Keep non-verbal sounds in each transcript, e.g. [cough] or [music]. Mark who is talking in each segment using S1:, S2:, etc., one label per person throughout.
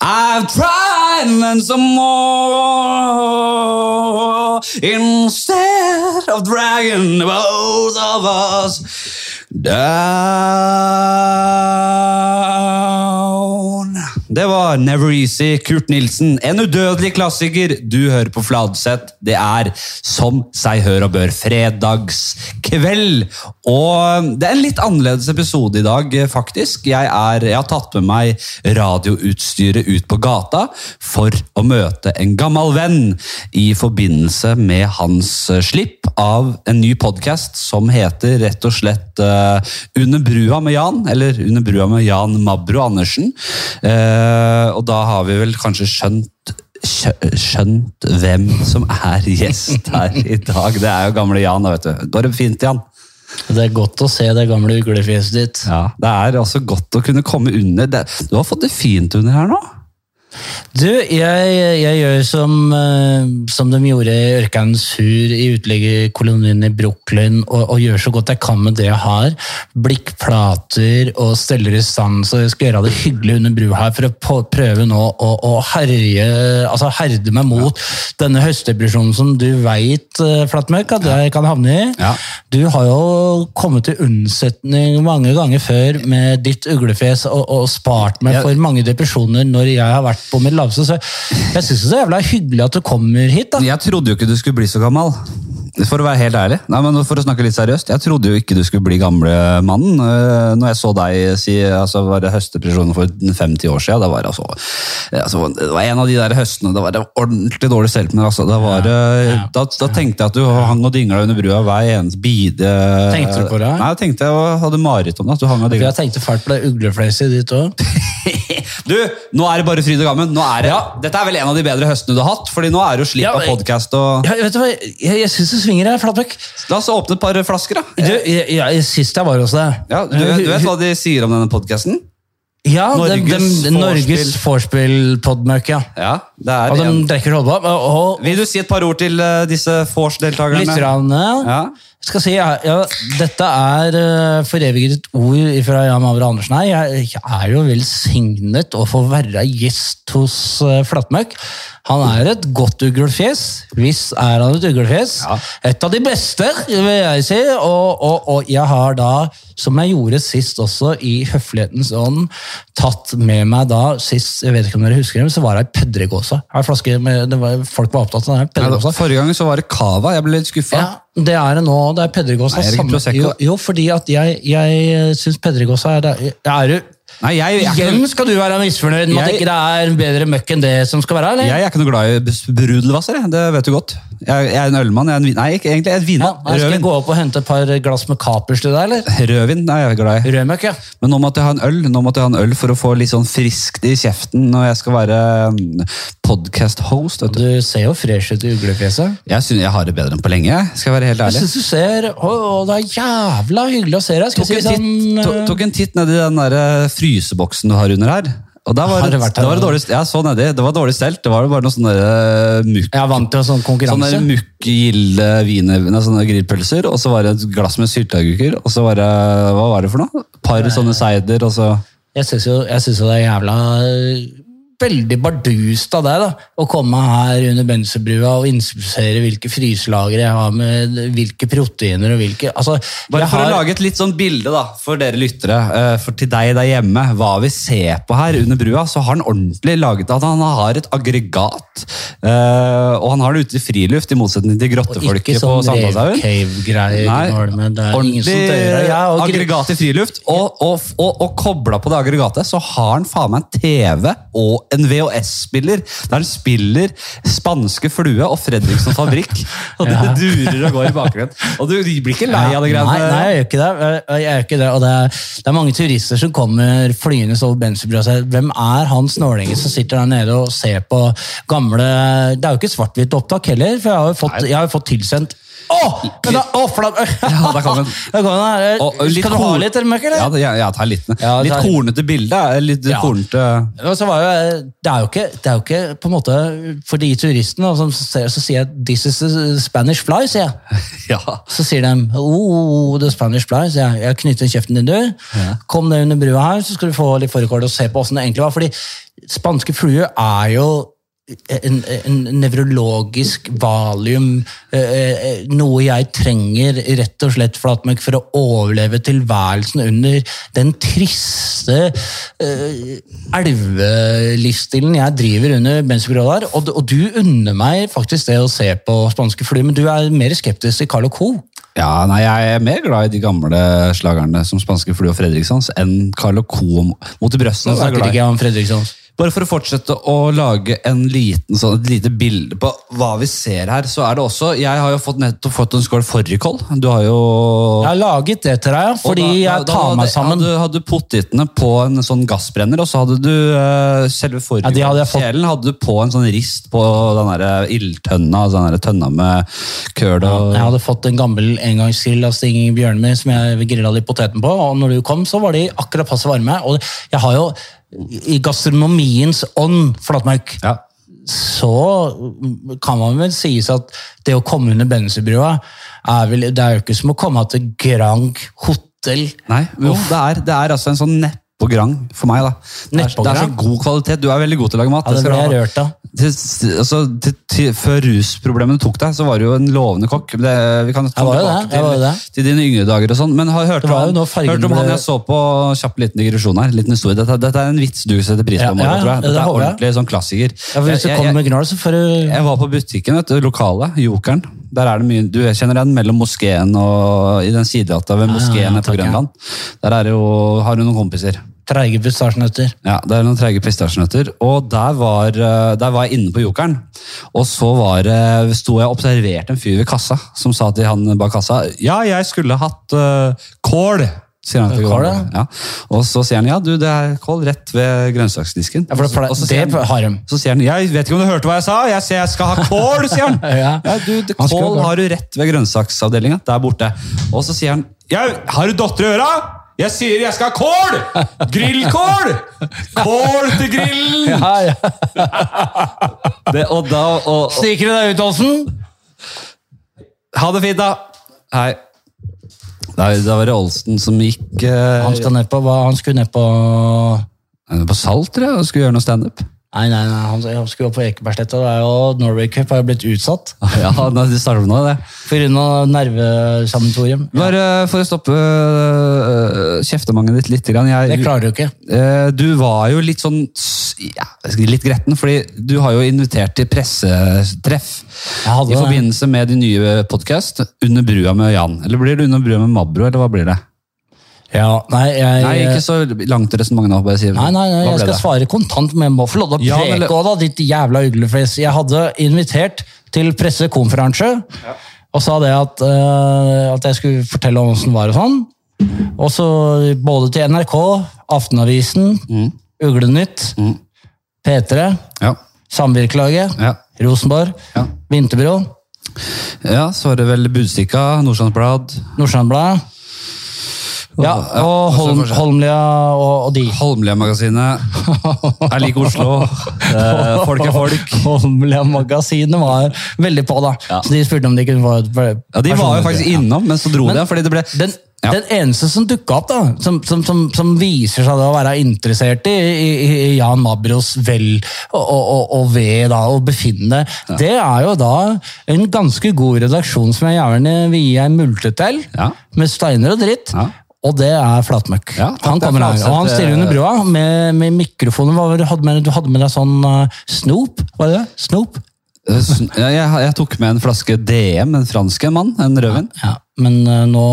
S1: I've tried and some more instead of dragging both of us down. Det var Never Easy, Kurt Nilsen. En udødelig klassiker. Du hører på Fladseth. Det er som seg hør og bør fredagskveld. Og det er en litt annerledes episode i dag, eh, faktisk. Jeg, er, jeg har tatt med meg radioutstyret ut på gata for å møte en gammel venn i forbindelse med hans eh, slipp av en ny podkast som heter rett og slett eh, Under brua med Jan, eller Under brua med Jan Mabro Andersen. Eh, og da har vi vel kanskje skjønt skjø- Skjønt hvem som er gjest her i dag. Det er jo gamle Jan. da, vet du. Går det fint, Jan?
S2: Det er godt å se det gamle uglefjeset ditt.
S1: Ja, Det er altså godt å kunne komme under. Det, du har fått det fint under her nå.
S2: Du, jeg, jeg gjør som, eh, som de gjorde i Ørkanens Hur i uteliggerkolonien i Brooklyn, og, og gjør så godt jeg kan med det jeg har. Blikkplater og steller i stand, så jeg skal gjøre det hyggelig under brua her for å på, prøve nå å, å herje, altså herde meg mot denne høstdepresjonen som du veit, eh, Flatmøkk, at jeg kan havne i.
S1: Ja.
S2: Du har jo kommet til unnsetning mange ganger før med ditt uglefjes og, og spart meg
S1: Ja.
S2: for mange depresjoner når jeg har vært på mitt laveste. Så jeg syns det er jævla hyggelig at du kommer hit. da.
S1: Jeg trodde jo ikke du skulle bli så gammel. For å være helt ærlig, Nei, men for å snakke litt seriøst, jeg trodde jo ikke du skulle bli gamle mannen. Eh, Når jeg så deg si altså var det høstdepresjonen for 50 år siden, det var, altså, altså, det var en av de der høstene, det var det ordentlig dårlig selvtillit. Altså, det var, eh, da, da tenkte jeg at du hang og dingla under brua hver eneste bide.
S2: Tenkte du på det?
S1: Nei, jeg tenkte jeg hadde mareritt om det. at du hang og
S2: For
S1: dingla.
S2: jeg tenkte fælt på det uglefjeset ditt òg.
S1: Du, nå er det bare fryd og gammen. Nå er det, Dette er vel en av de bedre høstene du har hatt, fordi nå er det jo slipp
S2: Ja,
S1: av
S2: men-
S1: podcast og...
S2: Ja, vet du hva? Jeg, jeg syns det svinger her, Flatbøk.
S1: La oss åpne et par flasker, da.
S2: Du, jeg, jeg, sist jeg var hos deg
S1: Ja, du, du vet hva de sier om denne podkasten?
S2: Ja, Norges,
S1: Norges
S2: dem, dem, Norges vorspiel-podmøkk, ja. Altså,
S1: Ja, det er
S2: Og de
S1: en.
S2: drikker holdbar. Og,
S1: Vil du si et par ord til eh, disse
S2: og
S1: vors-deltakerne?
S2: lytterne
S1: Ja.
S2: Jeg skal si, ja, ja, dette er eh, foreviget ord fra Jan Mavre Andersen her. Jeg, jeg er jo velsignet å få være gjest hos eh, Flatmøkk. Han er et godt uglefjes. Visst er han et uglefjes.
S1: Ja.
S2: Et av de beste, vil jeg si. Og, og, og jeg har da, som jeg gjorde sist også, i høflighetens ånd, tatt med meg da sist, jeg vet ikke om dere husker det, men så var det ei pedregåse. Ei flaske med, det var, folk var opptatt av den.
S1: Ja, da,
S2: Pedregåsa.
S1: Forrige gang så var det cava. Jeg ble litt skuffa.
S2: Ja, det er det nå. Det er Pedregosa.
S1: Nei, er det ikke
S2: samme-
S1: Prosecco?
S2: Jo, jo, fordi at jeg, jeg syns Pedregosa er det. Er du
S1: Nei, jeg, jeg, er ikke
S2: Igjen
S1: noe-
S2: skal du være misfornøyd med at
S1: Jeg-
S2: ikke det er bedre møkk enn det som skal være? eller?
S1: jeg er ikke noe glad i bes- brudelvasser. jeg. Det vet du godt. Jeg, jeg er en ølmann. Jeg er en, vin- nei, ikke, egentlig jeg er en
S2: ja,
S1: vinmann.
S2: jeg skal jeg
S1: Rødvin.
S2: gå opp og hente et par glass med kapers til deg, eller?
S1: Rødvin er jeg glad i.
S2: Rødmøkk, ja.
S1: Men nå måtte jeg ha en øl Nå måtte jeg ha en øl for å få litt sånn friskt i kjeften når jeg skal være mm, podcast-host. vet du.
S2: Du ser jo fresh ut i uglefjeset.
S1: Jeg synes jeg har det bedre enn på lenge. Skal jeg være helt
S2: Jeg
S1: ærlig.
S2: syns du ser å, å, det er jævla hyggelig å se deg. Skal
S1: tok
S2: jeg
S1: en,
S2: si sånn
S1: titt, to,
S2: eh,
S1: tok en titt nedi den der eh, fryseboksen du har under her. Og der var
S2: Har
S1: det,
S2: det vært
S1: det,
S2: her?
S1: var det, dårlig, ja, så nedi, det var dårlig stelt. Det var jo bare noe sånn der, eh, mukk.
S2: Jeg er vant til sånn
S1: Sånn
S2: konkurranse.
S1: der mukk, gilde, vine, nei, sånne grillpølser, og så var det et glass med sylteagurker, og så var det, hva var det for noe? Par sånne seider, og så...
S2: Jeg syns jo, jeg synes jo det er jævla øh, Veldig bardust av deg da, å komme her under Benserbrua og inspisere hvilke fryselagre jeg har med hvilke proteiner og hvilke altså,
S1: Bare
S2: jeg
S1: for
S2: har,
S1: å lage et litt sånn bilde da, for dere lyttere, eh, for til deg der hjemme, hva vi ser på her under brua, så har han ordentlig laget at han har et aggregat, eh, og han har det ute i friluft, i motsetning til
S2: Ikke
S1: grottefolket på
S2: sånn
S1: Sandalshaugen.
S2: revcave-greier.
S1: Nei,
S2: Gnolmen, Det er ingen som tøyer deg.
S1: ordentlig
S2: Ja, og gre-
S1: aggregat i friluft, og, og, og, og kobla på det aggregatet, så har han faen meg en TV og en VHS-spiller, der han spiller Spanske flue og Fredriksson
S2: [laughs]
S1: fabrikk, og det durer og går i bakgrunnen. Og du blir ikke lei av det greiene.
S2: Nei, nei, jeg gjør ikke det. Jeg gjør ikke det. Og det er, det er mange turister som kommer flyende over Benserbrua og sier hvem er han snålingen som sitter der nede og ser på gamle Det er jo ikke svart-hvitt opptak heller, for jeg har jo fått, jeg har jo fått tilsendt Å! men da- Å, flam...
S1: [laughs] Ja, der kom den.
S2: [laughs] Der kom den, her.
S1: Og- og litt
S2: Skal du ha
S1: korn-
S2: litt, eller, Møkk? eller?
S1: Ja, det- jeg, jeg tar litt.
S2: Ja,
S1: litt
S2: det er-
S1: kornete bilde. Litt
S2: Ja. [laughs]
S1: kornete
S2: Og så var jo, det er jo ikke, det er jo ikke på en måte, For de turistene da, som ser, så sier jeg 'This is a Spanish fly', sier jeg.
S1: Ja.
S2: Så sier de oh, the Spanish fly, så jeg, jeg knytter kjeften din, du. Kom ned under brua her, så skal du få litt fårikål og se på åssen det egentlig var. fordi Spanske flue er jo en, en nevrologisk valium, eh, eh, noe jeg trenger rett og slett Flatmark, for å overleve tilværelsen under den triste eh, elvelivsstilen jeg driver under mens vi går der. Og, og du unner meg faktisk det å se på spanske fly, men du er mer skeptisk til Carlo Co.
S1: Ja, nei, Jeg er mer glad i de gamle slagerne som Spanske Flu og Fredrikssons enn Carlo Coom mot i brøstet. så er jeg
S2: Snakker
S1: glad i.
S2: ikke jeg om Fredriksson.
S1: Bare for å fortsette å lage en liten, sånn, et lite bilde på hva vi ser her, så er det også Jeg har jo fått nettopp fått en skål fårikål. Du har jo
S2: Jeg har laget det til deg,
S1: Og
S2: fordi
S1: da- da-
S2: jeg tar
S1: da
S2: meg
S1: hadde-
S2: sammen.
S1: Hadde, hadde potetene på en sånn gassbrenner, og så hadde du eh, selve
S2: Ja, de hadde jeg fått.
S1: fårikålkjelen hadde du på en sånn rist på den der ildtønna, altså den der tønna med køl og
S2: Jeg hadde fått en gammel engangsgrill av Stig Inge Bjørnmi som jeg grilla litt poteten på, og når du kom, så var de akkurat passe varme. Og jeg har jo, i gastronomiens ånd, Flatmark,
S1: ja.
S2: så kan man vel sies at det å komme under Bennesybrua er vel Det er jo ikke som å komme til Grand Hotel.
S1: Nei, jo, det er, det er altså en sånn neppograng for meg, da. Det er,
S2: Neppograng?
S1: det er så god kvalitet. Du er veldig god til å lage mat.
S2: Ja, det
S1: skal
S2: ble
S1: du
S2: jeg
S1: ha.
S2: rørt av.
S1: Til, altså, til, til, før rusproblemene tok deg, så var du jo en lovende kokk. Men Det, vi kan ta
S2: Jeg var jo
S1: tilbake
S2: det, jeg var jo
S1: til,
S2: det.
S1: til dine yngre dager og sånn. Men har hørt
S2: Det
S1: om,
S2: var jo nå fargen
S1: hørt om han
S2: ble-
S1: jeg så på kjapp liten digresjon her. Liten historie. Dette, dette er en vits du setter pris på,
S2: Ja,
S1: Morten,
S2: ja,
S1: tror jeg.
S2: det
S1: Dette er
S2: håper jeg.
S1: ordentlig sånn klassiker.
S2: Ja, for hvis du
S1: Jeg- jeg-
S2: kommer med gnål, så får du
S1: jeg var på butikken, vet du, lokalet, Jokeren. Der er det mye, du kjenner den mellom moskeen og i den sidegata ved moskeen
S2: ja,
S1: på
S2: takk, ja.
S1: Grønland. Der er det jo, har du noen kompiser.
S2: treige pistasjenøtter.
S1: Ja, Det er noen treige pistasjenøtter. Og der var, eh, der var jeg inne på Jokeren. Og så var, det- sto jeg og observerte en fyr ved kassa som sa til han bak kassa Ja, jeg skulle hatt eh, kål. Sier han til
S2: Kål,
S1: kål, ja. Og så sier han ja, du, det er kål rett ved grønnsaksdisken.
S2: Ja, for det,
S1: Og så- og så
S2: for
S1: sier
S2: det,
S1: han-
S2: det har de.
S1: så sier han jeg vet ikke om du hørte hva jeg sa, jeg sier jeg skal ha kål, sier han.
S2: Ja.
S1: du, det,
S2: Han skulle ha
S1: kål
S2: kål.
S1: har du rett ved grønnsaksavdelinga, der borte. Og så sier han jeg, har du dotter i øra? Jeg sier jeg skal ha kål! Grillkål! Kål til [laughs] grillen!
S2: Ja, [laughs] ja.
S1: Det, og da, og, og,
S2: Stikker du deg ut, Olsen?
S1: ha det fint, da. Hei. Nei, da var det Olsen som gikk eh,
S2: Han skal ned på hva? Han skulle ned på
S1: han var på Salt, tror jeg, og skulle gjøre noe standup.
S2: Nei, nei, nei, han han skulle opp på Ekebergsletta. Det er jo Norway Cup har jo blitt utsatt
S1: [laughs] Ja, det starter med noe, det.
S2: pga. nervesammentorium.
S1: Bare eh, for å stoppe øh, kjeftemanget ditt litt. grann, Jeg,
S2: Det klarer du ikke.
S1: Eh, Du var jo litt sånn s- ja, jeg skal si litt gretten, fordi du har jo invitert til pressetreff
S2: Jeg hadde
S1: i
S2: det.
S1: forbindelse med din nye podkast, Under brua med Jan. Eller blir det Under brua med Mabro, eller hva blir det?
S2: Ja, nei, jeg,
S1: Nei, ikke så langt resonnement nå. bare sier
S2: Nei, nei, nei,
S1: hva
S2: jeg
S1: ble
S2: skal
S1: det?
S2: svare kontant, men jeg må få lov til å
S1: Ja,
S2: preke
S1: men-
S2: også, da, ditt jævla uglefjes. Jeg hadde invitert til pressekonferanse, og sa det at, eh, at jeg skulle fortelle om hvordan det var og sånn. Og så både til NRK, Aftenavisen,
S1: Mm.
S2: Uglenytt, P3,
S1: Ja,
S2: Samvirkelaget,
S1: ja,
S2: Rosenborg,
S1: Ja.
S2: Vinterbro,
S1: ja, så var det vel Budstikka, Nordstrands Blad,
S2: Nordstrand Blad, ja,
S1: ja,
S2: og Holm,
S1: fortsett.
S2: Holmlia og, og de. [laughs]
S1: Holmlia-magasinet, Jeg liker Oslo, eh, Folk er
S2: [laughs]
S1: folk.
S2: Holmlia-magasinet var veldig på, da. Så de spurte om de kunne få et per-
S1: Ja, De var jo
S2: personlig-
S1: faktisk
S2: Ja.
S1: innom, men så dro de, fordi det ble
S2: Den,
S1: Ja.
S2: den eneste som dukka opp, da, som, som, som, som viser seg da å være interessert i, i, i Jan Mabros vel og, og, og, og ved da, å befinne, det er jo da en ganske god redaksjon som jeg gjerne vil gi en multe til,
S1: Ja.
S2: med steiner og dritt.
S1: Ja.
S2: Og det er Flatmøkk.
S1: Ja, takk,
S2: han
S1: det er
S2: kommer her,
S1: Flatseth,
S2: og han stiller under
S1: eh,
S2: brua med, med mikrofonen. Hva var det du hadde med, du hadde med deg sånn eh, snop? Var det det? Snop?
S1: Eh, sn- ja, jeg, jeg tok med en flaske DM, en fransk en mann, en rødvin.
S2: Ja, men eh, nå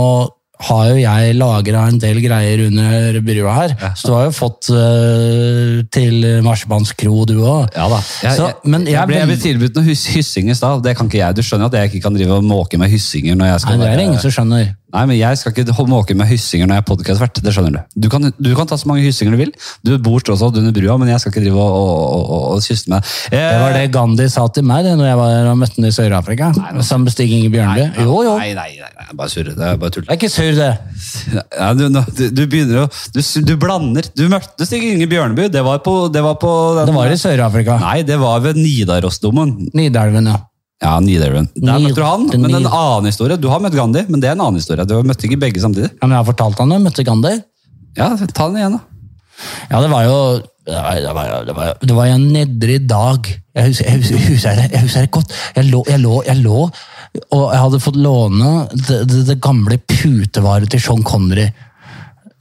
S2: har jo jeg lagra en del greier under brua her, så du har jo fått eh, til Marsipans kro, du òg.
S1: Ja da. Jeg,
S2: Så, men
S1: jeg,
S2: jeg er
S1: ble, jeg ble
S2: veldig-
S1: tilbudt noe hys, hyssing i stad. Det kan ikke jeg. Du skjønner at jeg ikke kan drive og måke med hyssinger når jeg
S2: Nei,
S1: skal
S2: det er det
S1: være-
S2: ingen som skjønner.
S1: Nei, men jeg skal ikke ho- måke med hyssinger når jeg er podkastvert. Det skjønner du. Du kan, du kan ta så mange hyssinger du vil. Du bor tross alt under brua, men jeg skal ikke drive og, og, og, og, og kysse med deg. Eh,
S2: Det var det Gandhi sa til meg det, når jeg var og møtte ham i Sør-Afrika. Sammen med Stig Inge Bjørnby.
S1: Nei,
S2: Jo, jo.
S1: Eh, Nei, nei, nei, nei, bare surre. Det er bare tull.
S2: Det er ikke surr, det.
S1: Ja, du, nå- du, du begynner å Du, du blander. Du møtte Stig Inge Bjørneby. Det var på, det var på den,
S2: Det var i Sør-Afrika.
S1: Nei, det var ved Nidarosdomen.
S2: Nidelven, ja.
S1: Ja, Nidarøen. Der
S2: Nid-
S1: møtte du han,
S2: den
S1: men en
S2: Nid-
S1: annen historie. Du har møtt Gandhi, men det er en annen historie. Du møtte ikke begge samtidig.
S2: ja. Men jeg har fortalt han det. Møtte Gandhi.
S1: Ja, ta den igjen da.
S2: Ja, det var jo det var, det var, det var, det var en nedrig dag. Jeg husker, jeg husker, jeg husker, det, jeg husker det godt. Jeg lå, jeg lå, jeg lå, og jeg hadde fått låne det, det, det gamle putevaret til Sean Connery.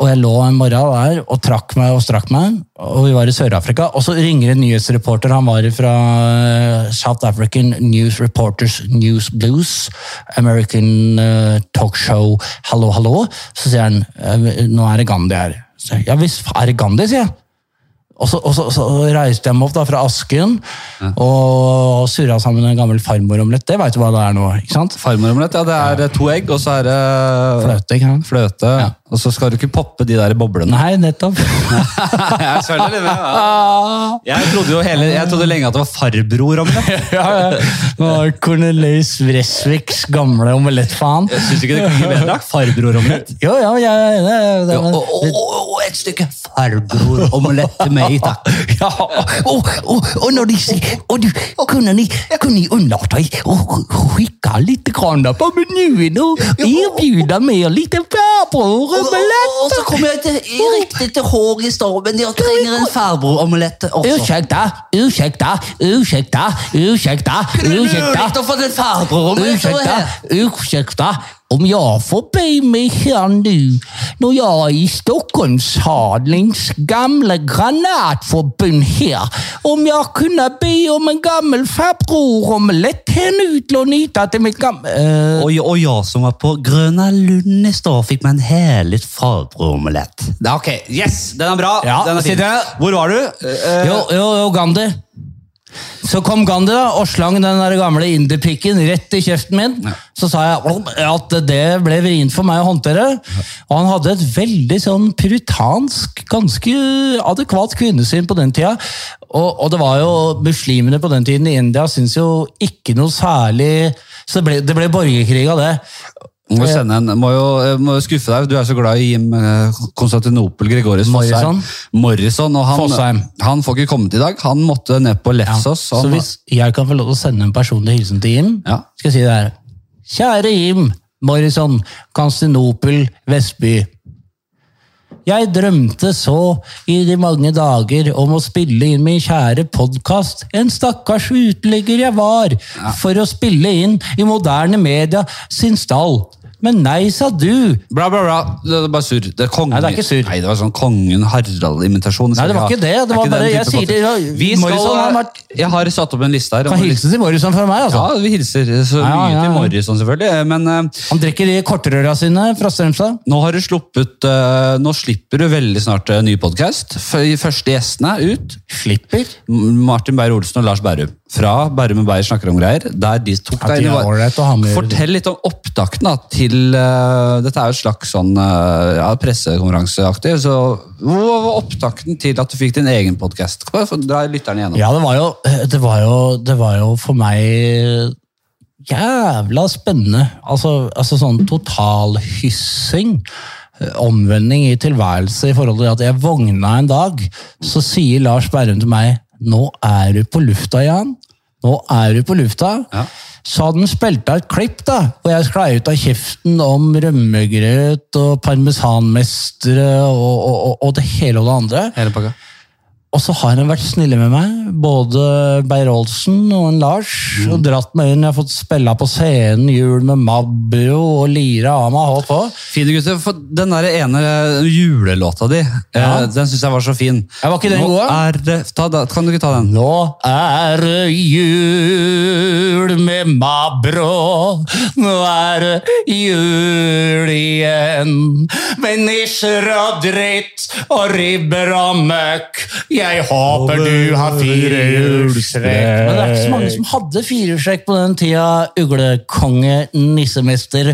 S2: Og jeg lå en morgen der og trakk meg og strakk meg, og vi var i Sør-Afrika. Og så ringer en nyhetsreporter, han var fra eh, South African News Reporters News Blues, American eh, talkshow Hallo, hallo. Så sier han eh, nå er det Gandhi her. Så, jeg, ja visst er det Gandhi, sier jeg. Og så, og så, så reiste jeg meg opp da fra asken og surra sammen en gammel farmoromlett. Det veit du hva det er nå, ikke sant?
S1: Farmoromlett, ja. Det er eh, to egg, og så er det
S2: Fløte, ikke sant?
S1: fløte. Og så skal du ikke poppe de der boblene.
S2: Nei, nettopp.
S1: jeg skjønner det. ja. [laughs]
S2: Ah.
S1: Jeg trodde jo hele, jeg trodde lenge at det var farbroromlett.
S2: Ja, ja. Det var Cornelius Vresviks gamle omelettfaen.
S1: Jeg syns ikke det klinger bedre. [laughs] da. Farbroromlett.
S2: Jo, ja, ja, ja, det, det,
S1: Å, å, å, et stykke farbroromlett til meg, takk. [laughs]
S2: ja. Og, og, og når de sier Og du, kunne ni, kunne ni unnlate å kikke litt grann på menyen og erbjude meg litt farbroromelett?
S1: Og så kommer jeg til, i riktig til hår i stormen. Jeg trenger en farbroromlett også.
S2: Unnskyld, unnskyld, unnskyld, unnskyld, unnskyld.
S1: Lurt å få en farbroromlett over
S2: Ursäkta,
S1: her.
S2: ursäkta. Om jag får be mig här nu, när jag är i Stockholmshadlings gamla granatförbund här, om jag kunde be om en gammal farbror om lätt här nu till att nyta till mitt gamla... Eh,
S1: Og, og jeg som var på Grøna Lund i stad, fikk meg en herlig farbroromlett. Ok, yes! Den er bra.
S2: Ja,
S1: den er fin.
S2: sitter jeg.
S1: Hvor var du? Eh,
S2: jo, jo, jo, Gandhi. Så kom Gandhi da, og slang den der gamle inderpikken rett i kjeften min. Så sa jeg "Om", at det ble vrient for meg å håndtere. Og han hadde et veldig sånn puritansk, ganske adekvat kvinnesyn på den tida. Og, og det var jo muslimene på den tiden i India syntes jo ikke noe særlig Så det ble, det ble borgerkrig av det.
S1: Må jo, sende en, må, jo, eh, må jo skuffe deg. Du er så glad i Jim eh, Konstantinopel Gregorius Fossheim.
S2: Morrison.
S1: Morrison. Og han,
S2: Fossheim.
S1: han får ikke komme til i dag. Han måtte ned på Lefsos. og
S2: Så
S1: han-
S2: hvis jeg kan få lov til å sende en personlig hilsen til Jim,
S1: Ja.
S2: skal jeg si det her. Kjære Jim Morrison, Konstantinopel, Vestby. Jeg drømte så i de mange dager om å spille inn min kjære podkast, en stakkars uteligger jeg var, for å spille inn i moderne media sin stall. Men nei, sa du.
S1: Bla, bla, bla. Det er bare surr. Det er kongen...
S2: Nei, det er ikke surr.
S1: Nei, det var sånn kongen Harald-imitasjon.
S2: Nei, det var ikke det. Det var bare- jeg sier det-
S1: Vi skal,
S2: Morrison har vært-
S1: Jeg har satt opp en liste her.
S2: Kan hilse til Morrison fra meg, altså.
S1: Ja, vi hilser så mye
S2: Ja, ja,
S1: til
S2: ja.
S1: Morrison, selvfølgelig. Men eh,
S2: Han drikker de kortrøra sine fra Strømstad.
S1: nå har du sluppet eh, Nå slipper du veldig snart eh, ny podkast. Første gjestene er ut.
S2: Slipper.
S1: Martin Beyer-Olsen og Lars Berrum fra Berrum og Beyer snakker om greier. der de tok
S2: Ja,
S1: deg
S2: de
S1: inn i
S2: er
S1: var-
S2: ålreit å ha med å gjøre.
S1: Fortell litt om opptakten da, til eh, Dette er jo et slags sånn eh, ja, pressekonferanseaktig. så Hvor var opptakten til at du fikk din egen podkast? Dra lytterne gjennom.
S2: Ja, det var jo, det var jo, det var jo for meg jævla spennende. Altså, altså sånn totalhyssing. Omvending i tilværelse i forhold til at jeg vågna en dag, så sier Lars Berrum til meg Nå er du på lufta, Jan. Nå er du på lufta.
S1: Ja.
S2: Så hadde han spilt av et klipp, da, hvor jeg sklei ut av kjeften om rømmegrøt og parmesanmestere og, og, og, og det hele og det andre.
S1: Hele pakka.
S2: Og så har han vært snille med meg, både Beyer-Olsen og en Lars. Og dratt meg inn. Jeg har fått spille på scenen jul med Mabro og lira av meg. Holdt på.
S1: Fine gutter, for Den der ene eh, julelåta di, eh,
S2: Ja.
S1: den syns jeg var så fin.
S2: Ja, var ikke den
S1: Nå
S2: god, da?
S1: er det- ta da- Kan du ikke ta den?
S2: Nå er det jul med Mabro. Nå er det jul igjen. Med nisjer og dritt og ribber og møkk. Jeg håper du har firehjulstrekk. Men det er ikke så mange som hadde firehjulstrekk på den tida. Uglekonge, nissemester,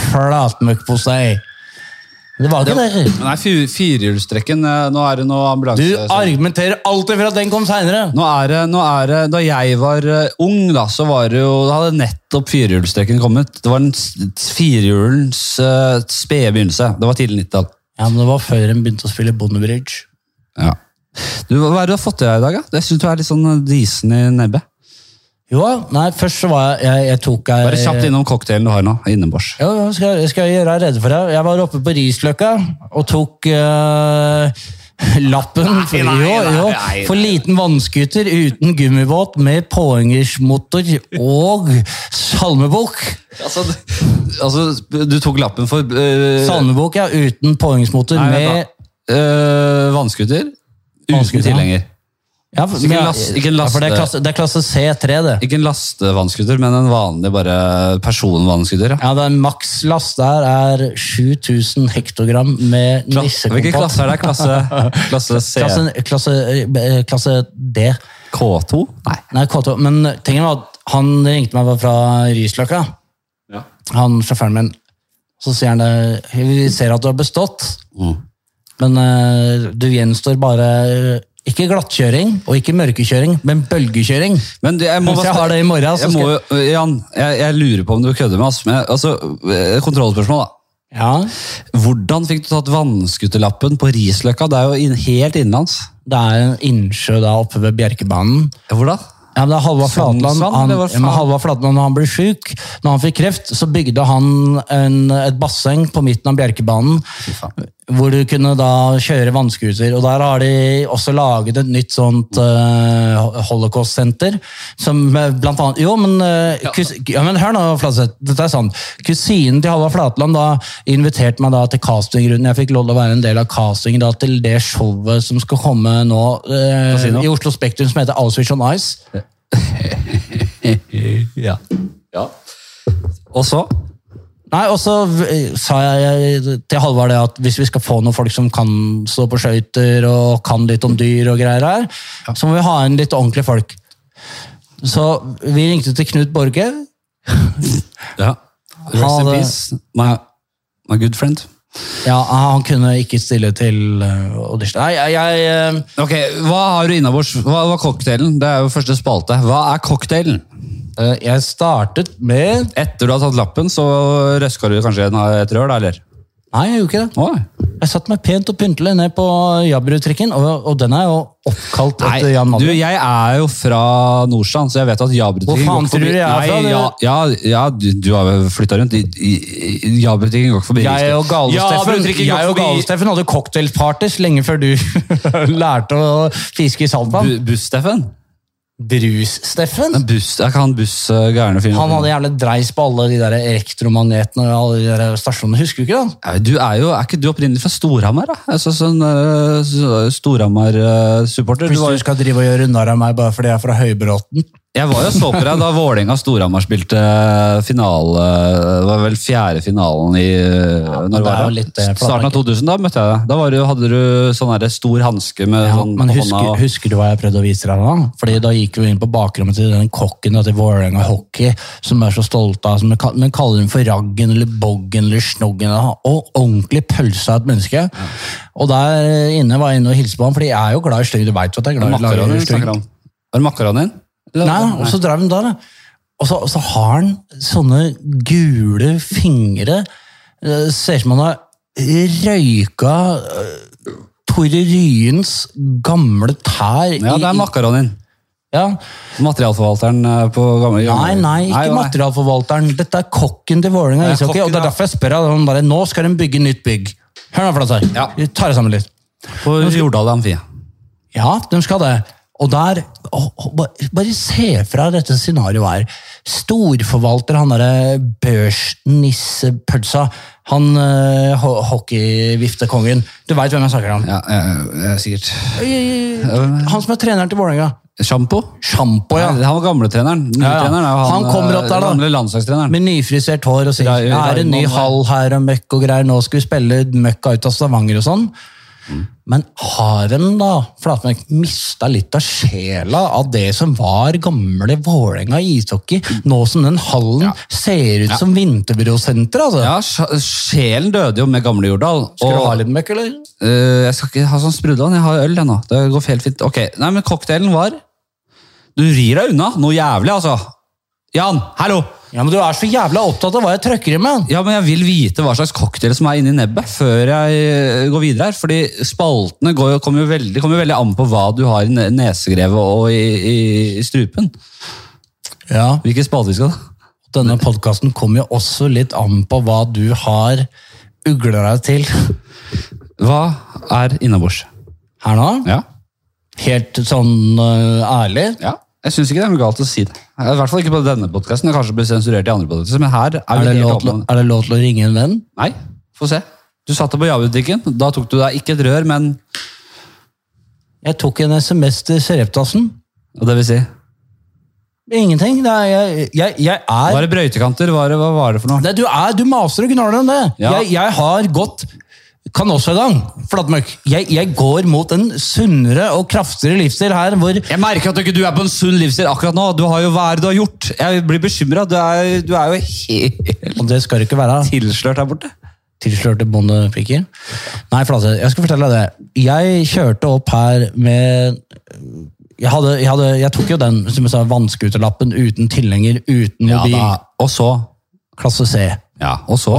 S2: flatmøkk på seg. Det var ikke det.
S1: Nei, fy- firehjulstrekken. eh, Nå er det noe ambulanse...
S2: Du argumenterer alltid for at den kom seinere.
S1: Nå er det, nå er det, da jeg var eh, ung, da, så var det jo, da hadde nettopp firehjulstrekken kommet. Det var den s- firehjulens uh, spede begynnelse. Det var tidlig 90-tall.
S2: Ja, men det var før de begynte å spille bondebridge.
S1: Ja. Du, hva er det du har fått til deg i dag? Da? Jeg synes du er litt sånn eh, disen i nebbet.
S2: Jo, nei, først så var jeg Jeg, jeg tok ei
S1: Bare kjapt innom cocktailen du har nå, innenbords.
S2: Jo, jo, skal, jeg- skal jeg gjøre rede for deg? Jeg var oppe på Risløkka og tok eh, [laughs] lappen.
S1: Nei, nei,
S2: jo,
S1: nei,
S2: jo.
S1: nei.
S2: For liten vannskuter uten gummibåt med påhengersmotor og salmebok.
S1: Altså, d- altså, du tok lappen for eh,
S2: Salmebok, ja, uten påhengsmotor
S1: Nei,
S2: med
S1: vent da. Eh, vannskuter uten
S2: Vannskuter, ja.
S1: tilhenger.
S2: ja,
S1: Så ikke en last- ikke en
S2: ja, for det, er
S1: laste-
S2: klasse, det er klasse C3, det.
S1: Ikke en lastevannskuter, men en vanlig bare personvannskuter. Ja.
S2: Ja, det er Makslast der er 7000 hektogram med
S1: Kla- Hvilken
S2: nissekompott.
S1: klasse er det? Klasse, [laughs] klasse C?
S2: Klasse, klasse, eh, klasse D.
S1: K2? Nei.
S2: Nei, K2. Men tingen var at han ringte meg fra Rysløkka,
S1: Ja.
S2: han sjåføren min. Så sier han det, vi ser at du har bestått,
S1: Mm.
S2: men eh, du gjenstår bare eh, ikke glattkjøring og ikke mørkekjøring, men bølgekjøring.
S1: Men det- jeg må
S2: Hvis
S1: bare
S2: jeg har det i morgen, så
S1: Jeg må, jo- Jan, jeg, jeg lurer på om du kødder med oss. Men altså, eh, kontrollspørsmål, da.
S2: Ja,
S1: Hvordan fikk du tatt vannskuterlappen på Risløkka? Det er jo inn, helt innenlands.
S2: det er en innsjø da oppe ved Bjerkebanen.
S1: Hvor da?
S2: Ja, men det er Halvard
S1: Sognsvann,
S2: Flatland. Han,
S1: eller hva
S2: ja, men
S1: faen?
S2: Halvard Flatland, når han ble syk, når han fikk kreft, så bygde han en, et basseng på midten av Bjerkebanen, hvor du kunne da kjøre vannskuter. Og der har de også laget et nytt sånt eh, holocaust-senter, som eh, blant annet... Jo, men, eh, kus, ja, men hør nå, Flatseth, dette er sant. Kusinen til Halvard Flatland da inviterte meg da til castingrunden. Jeg fikk lov til å være en del av castingen da til det showet som skal komme nå eh,
S1: Casino?
S2: i Oslo Spektrum som heter Auschwitz on Ice.
S1: Ja. Og så?
S2: Nei, og så eh, sa jeg til Halvard det at hvis vi skal få noen folk som kan stå på skøyter og kan litt om dyr og greier her, så må vi ha inn litt ordentlige folk. Så vi ringte til Knut Borge.
S1: Ja. Rest
S2: Ha
S1: in
S2: det.
S1: peace, my, my good friend.
S2: Ja, han kunne ikke stille til eh, audition. Nei, jeg, jeg eh,
S1: Ok, Hva har du innabords? Hva var cocktailen? Det er jo første spalte. Hva er cocktailen?
S2: eh, jeg startet med
S1: Etter du har tatt lappen, så røska du kanskje en- et rør, da, eller?
S2: Nei, jeg gjorde ikke det.
S1: Oi.
S2: Jeg satte meg pent og pyntelig ned på Jabru-trikken, og, og den er jo oppkalt
S1: Nei,
S2: etter Jan
S1: du,
S2: Madden.
S1: jeg er jo fra Nordstrand, så jeg vet at Jabrutrikken
S2: Hvor faen tror du jeg er fra,
S1: Nei,
S2: du?
S1: ja, ja, ja, du, du har jo flytta rundt. I- i- i- Jabrutrikken går ikke forbi.
S2: Jeg og Gale
S1: Ja,
S2: Steffen,
S1: Jabrutrikken
S2: jeg
S1: går
S2: og Gale
S1: forbi.
S2: Steffen hadde cocktailpartys lenge før du [laughs] lærte å fiske i saltvann.
S1: Bu- Buss-Steffen?
S2: Brus-Steffen?
S1: Den buss- Er ikke han buss-gærne fyren?
S2: Han hadde jævlig dreis på alle de der elektromagnetene og alle de der stasjonene. Husker du ikke det?
S1: Ja, Du er jo, er ikke du opprinnelig fra Storhamar, da? Altså, sånn eh, Storhamar-supporter.
S2: Hvis du skal drive og gjøre narr av meg bare fordi jeg er fra Høybråten.
S1: Jeg var jo og så på deg da Vålerenga og Storhamar spilte eh, finale Det var vel fjerde finalen i Når
S2: det er
S1: var
S2: jo
S1: det?
S2: litt, eh,
S1: Starten av 2000, da møtte jeg deg. Da var du, hadde du sånn her stor hanske med
S2: Ja,
S1: sånn
S2: men
S1: på
S2: husker,
S1: hånda.
S2: husker du hva jeg prøvde å vise deg da? Fordi da gikk vi inn på bakrommet til den kokken da, til Vålerenga Hockey, som er så stolte av, som vi kal- men kaller den for Raggen eller Boggen eller Snoggen, da. og ordentlig pølse av et menneske. Og der inne var jeg inne og hilste på ham, fordi jeg er jo glad i slyng, du vet jo at jeg er glad i å
S1: Makaronen
S2: lage
S1: du
S2: slyng.
S1: snakker om. Var det makaronen din? Eller-
S2: Nei, og så drev han der. da. Og så, og så har han sånne gule fingre. Eh, Ser ut som han har røyka eh, Tore Ryens gamle tær. i-
S1: Ja, det er makaronen din.
S2: Ja.
S1: Materialforvalteren eh, på gamle
S2: Nei, nei, ikke materialforvalteren. Dette er kokken til
S1: Ja,
S2: Vålerenga ishockey.
S1: kokken,
S2: Og det er
S1: ja.
S2: derfor jeg spør deg. Han bare, nå skal de bygge nytt bygg. Hør nå, Flatsar.
S1: Ja.
S2: Vi tar det sammen litt.
S1: På Jordal Amfi.
S2: Ja, de skal det. Og der, å, å, bare, bare se fra dette scenarioet her. Storforvalter, han derre børsnissepølsa. Han eh, ho hockeyviftekongen. Du veit hvem jeg snakker om?
S1: Ja, eh, eh, sikkert.
S2: Han som er treneren til Vålerenga.
S1: Sjampo?
S2: Sjampo, ja.
S1: Nei, Han var gamletreneren.
S2: ja.
S1: Nytreneren er jo han,
S2: Han kommer opp der,
S1: eh,
S2: da.
S1: Gamle landslagstreneren.
S2: Med nyfrisert hår og sier
S1: Ra-
S2: det er en ny
S1: Raymond, ja.
S2: hall her og møkk og greier, nå skal vi spille møkka ut av Stavanger og sånn.
S1: Mm.
S2: Men har en da, Flatmark, mista litt av sjela av det som var gamle Vålerenga ishockey,
S1: Mm.
S2: nå som den hallen ser ut som Vinterbrosenter, altså?
S1: Ja, sj- sjelen døde jo med gamle Jordal.
S2: Skal du
S1: og-
S2: ha litt møkk, eller?
S1: Eh, jeg skal ikke ha sånn sprudland, jeg har øl jeg nå. Det går helt fint. Ok, nei, men cocktailen var Du rir deg unna noe jævlig, altså. Jan, hallo!
S2: Ja, men du er så jævla opptatt av hva jeg trøkker i med!
S1: Ja, men Jeg vil vite hva slags cocktail som er inni nebbet før jeg eh, går videre. her, fordi spaltene går, jo- kommer jo veldig, kommer jo veldig an på hva du har i ne- nesegrevet og i, i, i strupen.
S2: Ja,
S1: Hvilke spalte vi skal ta?
S2: Denne podkasten kommer jo også litt an på hva du har ugla deg til.
S1: Hva er innabords?
S2: her nå.
S1: Ja.
S2: Helt sånn eh, ærlig.
S1: ja. Jeg syns ikke det er noe galt å si det. I hvert fall ikke på denne podkasten. Kanskje blir sensurert i andre podkaster, men her er,
S2: Er
S1: vi
S2: det,
S1: helt
S2: lov til, å-
S1: åpne.
S2: er det lov til å ringe en venn?
S1: Nei, få se. Du satt på javebutikken. Da tok du deg ikke et rør, men
S2: Jeg tok en SMS til Sereptassen.
S1: og Det vil si
S2: Ingenting. Det er, jeg, jeg, jeg er
S1: Var det brøytekanter? Var det, hva var det for noe?
S2: Nei, du er, du maser og gnaler om det.
S1: Ja.
S2: Jeg, jeg har gått kan også i gang, flatmøkk. Jeg, jeg går mot en sunnere og kraftigere livsstil her, hvor
S1: Jeg merker at du ikke du er på en sunn livsstil akkurat nå. Du har jo hva er det du har gjort? Jeg blir bekymra. Du, er- du er jo helt
S2: Og det skal det ikke være.
S1: tilslørt her borte.
S2: Tilslørte bondepiker. Nei, flate, jeg skal fortelle deg det. Jeg kjørte opp her med Jeg, hadde, jeg, hadde, jeg tok jo den som jeg sa, vannskuterlappen uten tilhenger, uten mobil.
S1: Og så
S2: Klasse C.
S1: Ja, og så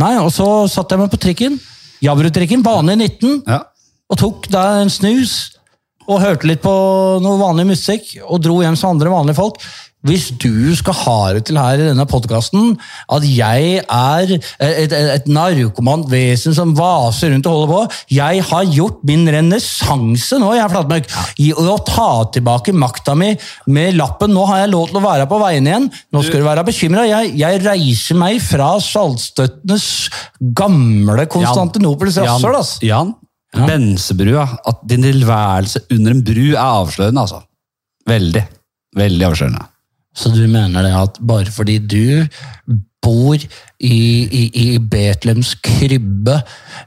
S2: Nei, og så satt jeg meg på trikken. Jabberud-trikken, bane 19.
S1: ja.
S2: og tok deg en snus og hørte litt på noe vanlig musikk og dro hjem som andre vanlige folk. Hvis du skal ha det til her i denne podkasten at jeg er et, et, et narkomant vesen som vaser rundt og holder på Jeg har gjort min renessanse nå, jeg er Flatmark, i å ta tilbake makta mi med lappen. Nå har jeg lov til å være på veiene igjen. Nå skal du være bekymra. Jeg, jeg reiser meg fra saltstøttenes gamle Konstantinopels rasshøl, ass.
S1: Jan, Bensebrua. At din tilværelse under en bru er avslørende, altså. Veldig. Veldig avslørende.
S2: Så du mener det at bare fordi du bor i, i, i Betlehems krybbe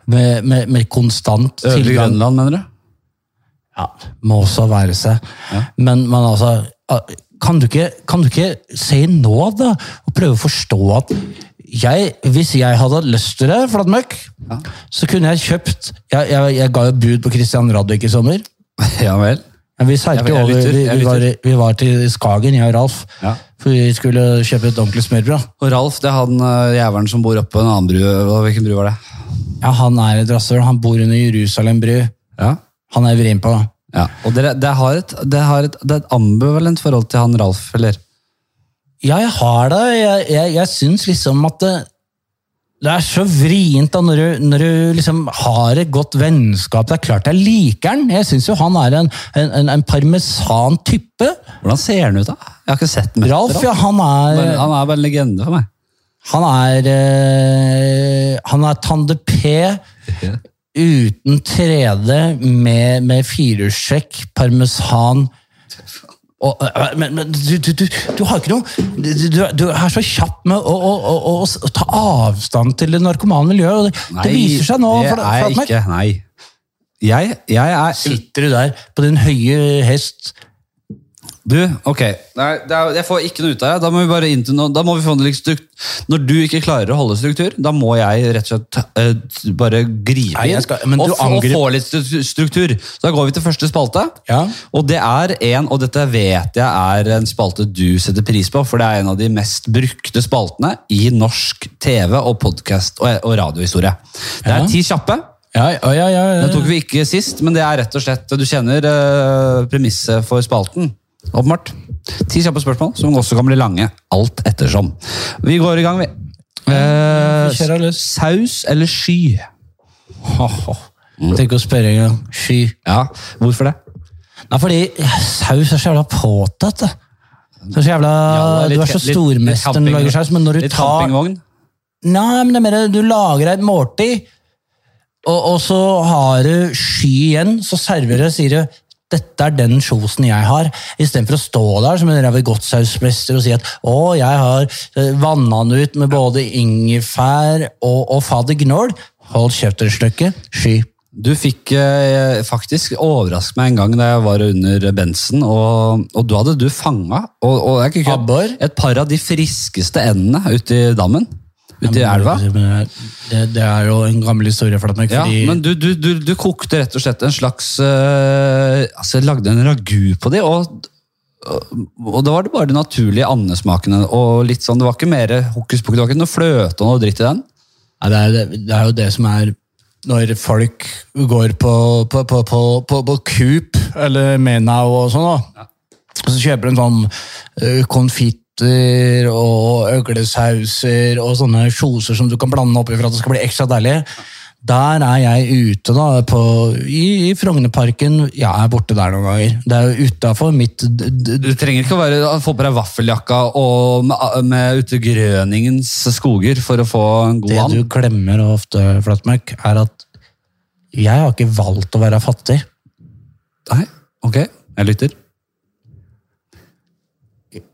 S2: med, med, med konstant
S1: Øvre
S2: tilgang
S1: Grønland, mener du?
S2: ja, Må også være seg. Men, men altså ah, kan du, ikke, kan du ikke se nå, da, og prøve å forstå at jeg, hvis jeg hadde hatt lyst til det, flatmøkk, så kunne jeg kjøpt jeg, jeg, jeg ga jo bud på Christian Radich i sommer.
S1: [laughs] Ja vel.
S2: Men vi seilte
S1: Jeg- jeg
S2: over,
S1: lytter,
S2: vi,
S1: jeg
S2: vi, var, vi var til Skagen, jeg og Ralf,
S1: Ja.
S2: for vi skulle kjøpe et ordentlig smørbrød.
S1: Og Ralf, det er han eh, jævelen som bor oppå en annen bru. Hva- Hvilken bru var det?
S2: Ja, han er et rasshøl. Han bor under Jerusalem bru.
S1: Ja.
S2: Han er vrien på.
S1: ja. Og dere, det, har et, det, har et, det er et ambivalent forhold til han Ralf, eller?
S2: Ja, jeg har det. Jeg, jeg, jeg syns liksom at det, det er så vrient da, når du, når du liksom har et godt vennskap. Det er klart jeg liker han. Jeg syns jo han er en, en, en, en parmesan-type.
S1: Hvordan ser han ut, da? Jeg har ikke sett ham.
S2: Ralf, ja, han er
S1: Men han er bare en legende for meg.
S2: Han er eh, Han er Tande P uten 3D med, med firehjulstrekk, parmesan og, eh, men, men du, du, du, du har ikke noe du, du, du er så kjapp med å, å, å, å, å ta avstand til det narkomane miljøet. og Det, det viser seg nå.
S1: det
S2: for-
S1: er
S2: for at
S1: jeg
S2: man-
S1: ikke. Nei. Jeg, jeg er
S2: Sitter du der på din høye hest
S1: Du, ok. Nei, det er, jeg får ikke noe ut av det. Da må vi bare inn til noe. Da må vi få noe litt strukt- Når du ikke klarer å holde struktur, da må jeg rett og slett eh, bare gripe
S2: Nei,
S1: inn
S2: jeg skal- men
S1: og,
S2: du
S1: få- og
S2: angrip-
S1: få litt stru- struktur. Så da går vi til første spalte.
S2: Ja.
S1: Og det er en, og dette vet jeg er en spalte du setter pris på, for det er en av de mest brukte spaltene i norsk TV og podkast og, og radiohistorie. Det
S2: Ja.
S1: er ti kjappe.
S2: Ja, ja, ja, ja, ja.
S1: Den tok vi ikke sist, men det er rett og slett Du kjenner eh, premisset for spalten. Åpenbart. Ti kjappe spørsmål, som også kan bli lange. Alt ettersom. Vi går i gang, vi. Eh,
S2: vi kjører løs.
S1: saus eller sky?
S2: Ho, ho. Tenk å spørre en gang. Sky.
S1: Ja, Hvorfor det?
S2: Nei, fordi saus er så jævla påtatt, da. Så så jævla,
S1: Ja, det er
S2: Ah, du
S1: litt-
S2: er så
S1: litt- litt
S2: stormester når du
S1: camping-
S2: lager saus, men når du
S1: Litt
S2: tar
S1: campingvogn?
S2: Nei, men det er mer du lager et måltid, og, og så har du sky igjen, så serverer du og sier du dette er den kjosen jeg har, istedenfor å stå der som en ræva godtsausmester og si at å, jeg har eh, vanna den ut med både ingefær og, og fadder gnål. Hold kjeft et stykke. Sky.
S1: Du fikk eh, faktisk overraske meg en gang da jeg var under Bensen, og, og da hadde du fanga og, og det er ikke kødd,
S2: Abbor?
S1: et par av de friskeste endene ute i dammen. Ute i elva.
S2: Det, det er jo en gammel historie, Flatmark.
S1: Ja,
S2: fordi
S1: men du, du, du, du kokte rett og slett en slags eh, Altså, lagde en ragu på de, og, og da var det bare de naturlige andesmakene. Og litt sånn, det var ikke mer hokus pokus, det var ikke noe fløte og noe dritt i den.
S2: Ja, det, er, det er jo det som er når folk går på, på, på, på, på, på Coop eller Menau og sånn, da. Og så kjøper de sånn eh, konfitter og øglesauser og sånne kjoser som du kan blande oppi for at det skal bli ekstra deilig. Der er jeg ute da, på, i, i Frognerparken. Jeg er borte der noen ganger. Det er jo utafor mitt d- d-
S1: Du trenger ikke å være, få på deg vaffeljakka og med, med ute i Grøningens skoger for å få en god
S2: Det
S1: and.
S2: du glemmer ofte, Flatmark, er at jeg har ikke valgt å være fattig.
S1: Nei, ok. Jeg lytter.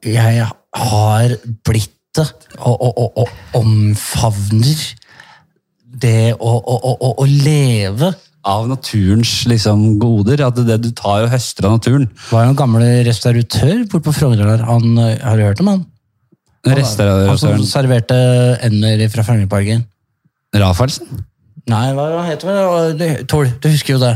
S2: Jeg har blitt det, og, og, og, og omfavner det å, å, å, å, å leve.
S1: Av naturens liksom, goder. At det du tar og høster av naturen.
S2: Det var jo en gammel restauratør borte på Frogner der. Han, eh, har du hørt om han?
S1: Rester av
S2: Han som
S1: restauranten.
S2: serverte ender fra Frognerparken. sånn-
S1: Rafaelsen?
S2: Nei, hva heter det? det? Tord, du husker jo det.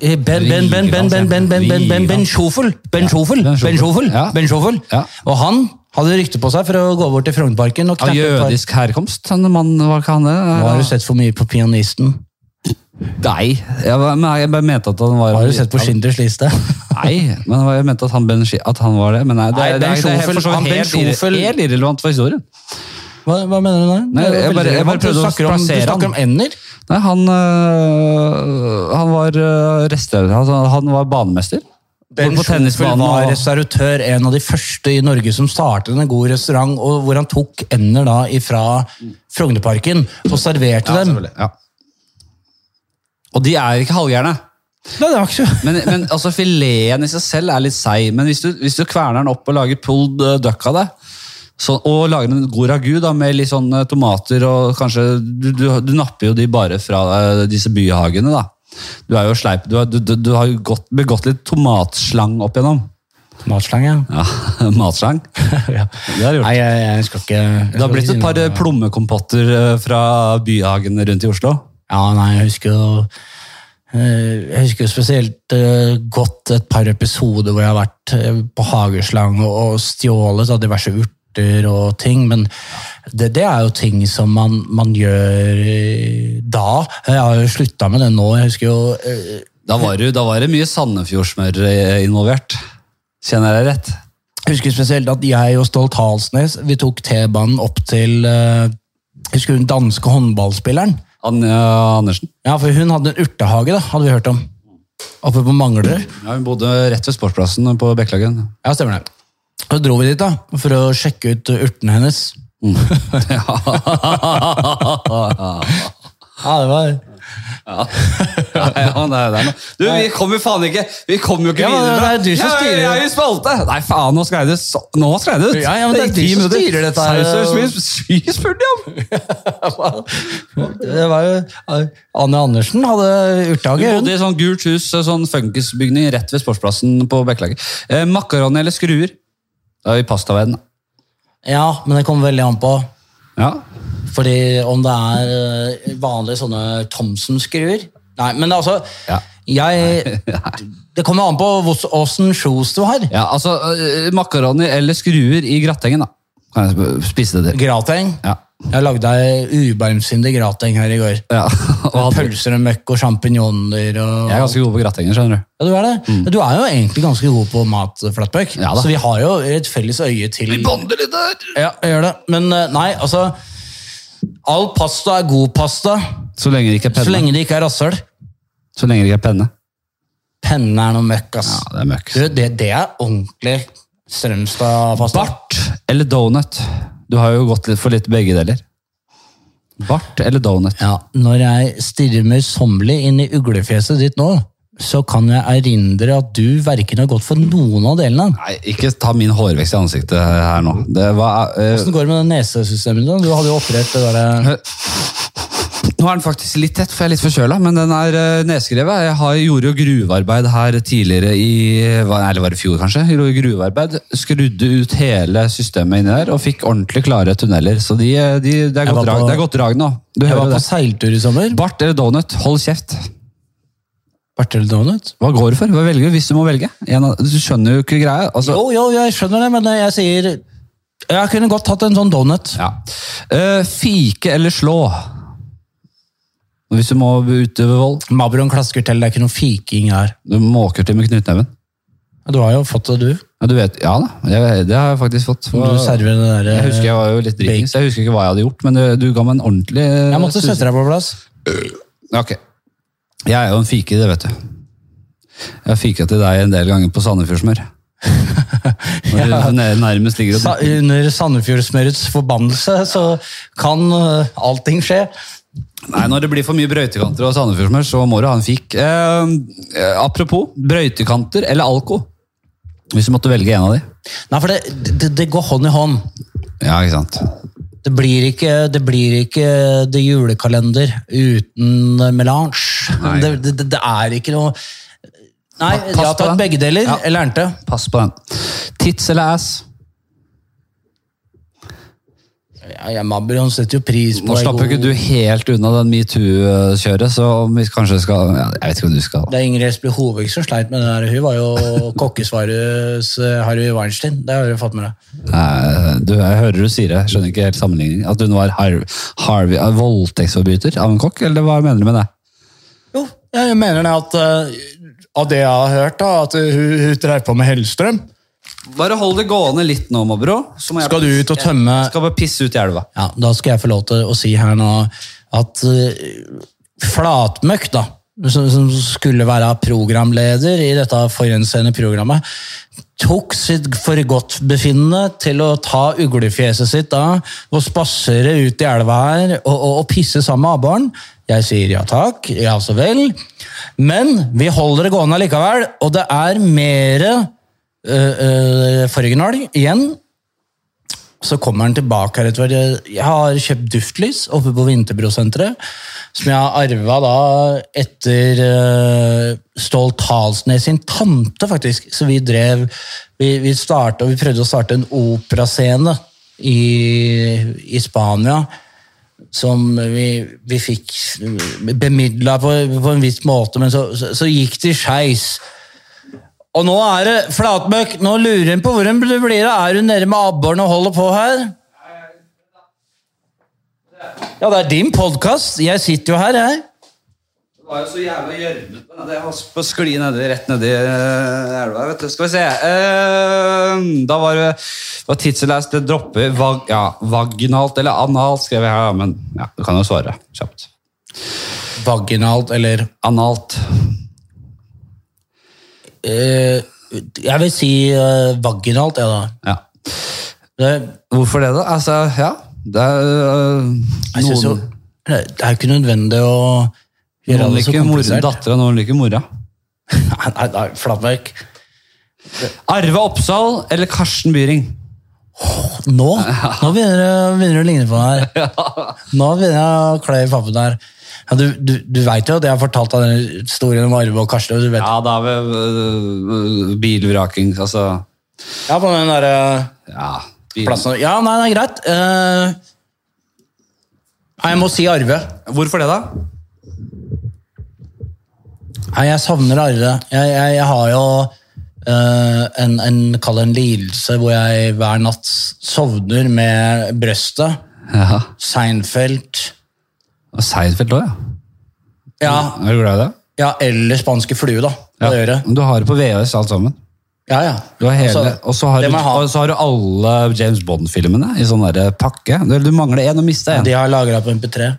S2: Eh, Ben, ben, ben, ben, ben, ben, ben, ben, ben, ben Schofel. Ben Schofel.
S1: Ben Schofel.
S2: Ben Schofel.
S1: Ja.
S2: Ben Schofel.
S1: Ja.
S2: Og han hadde rykte på seg for å gå bort til Frognerparken og
S1: Av
S2: knekke et par-
S1: jødisk herkomst, han mannen var ikke han det?
S2: Har du sett for mye på Pianisten?
S1: Nei, jeg, var- men jeg bare mente at han var
S2: Har du sett på Schindlers liste?
S1: Nei, men jeg mente at han, ben, Ski- at han var det. Men nei, det,
S2: Nei,
S1: er-
S2: Ben
S1: det, er- det er helt,
S2: Schofel-
S1: for så vidt
S2: han Ben
S1: helt, irre-
S2: Schofel-
S1: helt irrelevant for historien.
S2: [laughs] Hva, hva mener du da?
S1: Nei,
S2: Det er
S1: jeg
S2: veldig
S1: bare- jeg bare
S2: relevant. Du
S1: prøvde å
S2: snakker om-
S1: plassere
S2: Du snakker
S1: han.
S2: om ender.
S1: Nei, han, øh, han var øh, restaurant, altså, han var banemester.
S2: Ben
S1: Både på
S2: Schofel
S1: tennisbanen
S2: var
S1: og
S2: restauratør, en av de første i Norge som startet en god restaurant, og hvor han tok ender da ifra Frognerparken og serverte
S1: Ja,
S2: dem.
S1: selvfølgelig, ja. Og de er ikke halvgjerne.
S2: Nei, det var ikke så...
S1: Men, men altså, fileten i seg selv er litt seig. Men hvis du, hvis du kverner den opp og lager pulled øh, duck av det, så, og lager en god ragu da, med litt sånn øh, tomater og kanskje du, du, du napper jo de bare fra øh, disse byhagene, da. Du er jo sleip. Du har, du, du, du har jo gått, begått litt tomatslang opp igjennom.
S2: Matslange.
S1: Ja, [laughs] matslang.
S2: [laughs] ja.
S1: Det har du gjort.
S2: Nei, jeg, jeg skal ikke... jeg
S1: Det har
S2: skal
S1: blitt
S2: ikke
S1: et
S2: si
S1: par
S2: noe.
S1: eh, plommekompotter eh, fra byhagen rundt i Oslo.
S2: Ja, nei, jeg husker jo... eh, Jeg husker jo spesielt eh, godt et par episoder hvor jeg har vært eh, på hageslang og, og stjålet av diverse urter og ting, men det, det er jo ting som man, man gjør eh, da. Jeg har jo sluttet med det nå, jeg husker jo... eh,
S1: Da var, det- da var det mye Sandefjordsmør eh, involvert. Kjenner jeg rett?
S2: Jeg husker spesielt at jeg og Stolt Halsnes vi tok T-banen opp til eh, jeg husker hun danske håndballspilleren.
S1: Anja eh, Andersen.
S2: Ja, for Hun hadde en urtehage, da, hadde vi hørt om. Oppe på Manglerud.
S1: Ja, hun bodde rett ved sportsplassen på Bekkelagen.
S2: Ja, stemmer det. Så dro vi dit da, for å sjekke ut urtene hennes. Mm. [laughs] Ja, det var...
S1: Ja, [laughs] ja, nei, det er noe. Du, vi kommer faen ikke Vi kommer jo ikke
S2: Ja, men
S1: videre.
S2: det er du som
S1: Ja,
S2: styrer.
S1: Jeg er i spalte! Nei, faen, nå skrev det så- Nå skrev det ut!
S2: Ja, ja, men det er
S1: gikk
S2: du
S1: ti
S2: som
S1: minutter.
S2: styrer dette her.
S1: Seriøst, vi- vi spurte om!
S2: Det var jo... Anne Andersen hadde
S1: Vi
S2: urtehage. hun.
S1: bodde i sånn gult hus, sånn funkisbygning rett ved sportsplassen på Bekkelaget. Eh, Makaroni eller skruer? Da er vi i pastaverden.
S2: Ja, men det kommer veldig an på.
S1: Ja.
S2: Fordi om det er eh, vanlige sånne Thomsen-skruer Nei, men altså
S1: Ja.
S2: [laughs] Jeg Det kommer an på åssen kjos du har.
S1: ja, altså eh, makaroni eller skruer i grattengen, da. Kan jeg sp- spise det til?
S2: Grateng.
S1: Ja.
S2: Jeg lagde ei ubarmsindig grateng her i går.
S1: ja. [laughs] Og hadde-
S2: Pølser og møkk og sjampinjonger og
S1: Jeg er ganske god på grattenger, skjønner du.
S2: ja, du, er det. Du er jo egentlig ganske god på mat, eh, Flatbøk.
S1: Mm. Ja da.
S2: så vi har jo et felles øye til
S1: bonder litt der!
S2: Ja, jeg gjør det. Men eh, nei, altså All pasta er god pasta,
S1: Så lenge det ikke er
S2: så
S1: penne.
S2: lenge det ikke er rasshøl.
S1: Så lenge det ikke er penne.
S2: Penne er noe møkk, ass.
S1: Ja, det er møkk.
S2: Du, det, det er ordentlig Strømstad-pasta.
S1: Bart eller donut? Du har jo gått litt for litt begge deler. Bart eller donut?
S2: Ja, når jeg stirrer møysommelig inn i uglefjeset ditt nå, så kan jeg erindre at du verken har gått for noen av delene.
S1: Nei, ikke ta min hårvekst i ansiktet her nå. Det var, eh,
S2: Hvordan går det med det nesesystemet? da? Du hadde jo operert det der...
S1: Nå er den faktisk litt tett, for jeg er litt forkjøla, men den er eh, nedskrevet. Jeg har, gjorde jo gruvearbeid her tidligere i hva- Eller var det i fjor, kanskje? Gjorde gruvearbeid. Skrudde ut hele systemet inni der og fikk ordentlig klare tunneler. Så de, eh, de, det, er
S2: Jeg
S1: godt
S2: var
S1: drag,
S2: på-
S1: det er godt drag nå. Du
S2: Jeg
S1: hører
S2: var
S1: jo
S2: på
S1: det.
S2: seiltur i sommer.
S1: Bart eller donut, hold kjeft.
S2: Bartel Donut.
S1: Hva går du for? Hva velger du hvis du må velge? En av, du skjønner jo ikke greia. Altså,
S2: Jo, jo, jeg skjønner det, men jeg sier... Jeg kunne godt tatt en sånn donut.
S1: ja. Eh, fike eller slå? Hvis du må utøve vold.
S2: Mabron klasker til, det er ikke noe fiking her.
S1: Du måker til med knyttneven.
S2: Du har jo fått det, du.
S1: Ja, du vet, ja da, det, det har jeg faktisk fått.
S2: Du serverer den der eh,
S1: Jeg husker jeg var jo litt dritings, jeg husker ikke hva jeg hadde gjort, men du, du ga meg en ordentlig eh,
S2: Jeg måtte sette deg på plass.
S1: Ok. Jeg er jo en fike, det vet du. Jeg har fika til deg en del ganger på Sandefjordsmør.
S2: [laughs]
S1: Når du nær- nærmest ligger og
S2: Sa under Sandefjordsmørets forbannelse så kan eh, allting skje.
S1: Nei, når det blir for mye brøytekanter og Sandefjordsmør, så må du ha en fikk. Eh, eh, apropos brøytekanter eller alko. Hvis du måtte velge en av de.
S2: Nei, for det, det, det går hånd i hånd.
S1: Ja, ikke sant.
S2: Det blir ikke det, blir ikke det julekalender uten eh, melange.
S1: Nei.
S2: Det, det, det er ikke noe Nei,
S1: Pa- pass
S2: jeg har
S1: på
S2: tatt
S1: den.
S2: begge deler.
S1: Ja.
S2: Jeg lærte.
S1: Pass på den. Tits eller ass?
S2: Ja, ja, Mabrion setter jo pris på
S1: Nå
S2: ei
S1: slapper
S2: god-
S1: ikke du helt unna den metoo-kjøret, så om vi kanskje skal ja, Jeg vet ikke om du skal
S2: Det er Ingrid Espelid Hovig som sleit med det der. Hun var jo [laughs] kokkesvarets eh, Harry Weinstein. Det har du fått med deg.
S1: Nei, du, Jeg hører du sier det, jeg skjønner ikke helt sammenligningen. At hun var har, Harvey, en voldtektsforbryter av en kokk, eller hva mener du med det?
S2: Jo, jeg mener det at eh, av det jeg har hørt, da, at hun, hun dreiv på med Hellstrøm.
S1: Bare hold det gående litt nå, Mobro.
S2: Skal du ut og tømme
S1: Skal bare pisse ut i elva.
S2: Ja, da skal jeg få lov til å si her nå at eh, Flatmøkk, da, som, som skulle være programleder i dette forurensende programmet, tok sitt forgodtbefinnende til å ta uglefjeset sitt da, og spasere ut i elva her og, og, og pisse sammen med abboren. Jeg sier ja takk, ja så vel. Men vi holder det gående likevel, og det er mere uh, igjen så kommer han tilbake her etter hvert. Jeg har kjøpt duftlys oppe på Vinterbrosenteret, som jeg har arva da etter eh, Stål Talsnes sin tante, faktisk. Så vi drev Vi, vi, startet, og vi prøvde å starte en operascene i, i Spania. Som vi, vi fikk bemidla på, på en viss måte, men så, så, så gikk det skeis. Og nå er det flatmøkk. Nå lurer hun på hvor hun blir av. Er hun nede med abboren og holder på her? Ja, det er din podkast. Jeg sitter jo her, jeg.
S1: Det var jo så jævla gjørmete. Det var på skli nedi, rett nedi eh, elva. vet du. Skal vi se Eh, Da var det var tidselast det dropper vag, ja, vaginalt eller analt, skrev jeg her. Men ja, du kan jo svare kjapt.
S2: Vaginalt, eller
S1: Analt.
S2: eh, Jeg vil si eh, vaginalt, jeg, da.
S1: Ja.
S2: Det,
S1: Hvorfor det, da? Altså, ja. Det er øh,
S2: jeg synes jo,
S1: noen,
S2: det er jo ikke nødvendig å gjøre
S1: noen
S2: det så
S1: liker mor-
S2: komplisert.
S1: dattera, noen liker mora.
S2: Nei, [laughs] nei, nei, flatmøkk.
S1: Arve Oppsal eller Karsten Byring?
S2: Nå, nå begynner, det, begynner det å ligne på meg her. Nå begynner jeg å klø i pappen her. Ja, du du, du veit jo at jeg har fortalt deg den historien om Arve og Karsten. og Du vet. Ja.
S1: Ja, da er vi øh, øh, bilvraking, altså
S2: på den der, eh,
S1: Ja. bil-
S2: plassen. Ja, nei, det er greit. Eh, nei, jeg må si Arve.
S1: Hvorfor det, da?
S2: Nei, jeg savner Arve. Jeg, jeg, jeg har jo eh, en, en, kall det en lidelse hvor jeg hver natt sovner med brøstet.
S1: Ja.
S2: Seinfeld.
S1: Og Seinfeld òg, ja.
S2: Ja,
S1: Er du glad i det?
S2: ja, eller spanske flue, da. På det øret.
S1: Du har det på VHS, alt sammen.
S2: Ja, ja.
S1: Du har hele,
S2: Altså,
S1: og, så har du,
S2: det må jeg ha.
S1: og så har du alle James Bond-filmene i sånn der pakke. Du, du mangler én og mista én.
S2: De har lagra på MP3.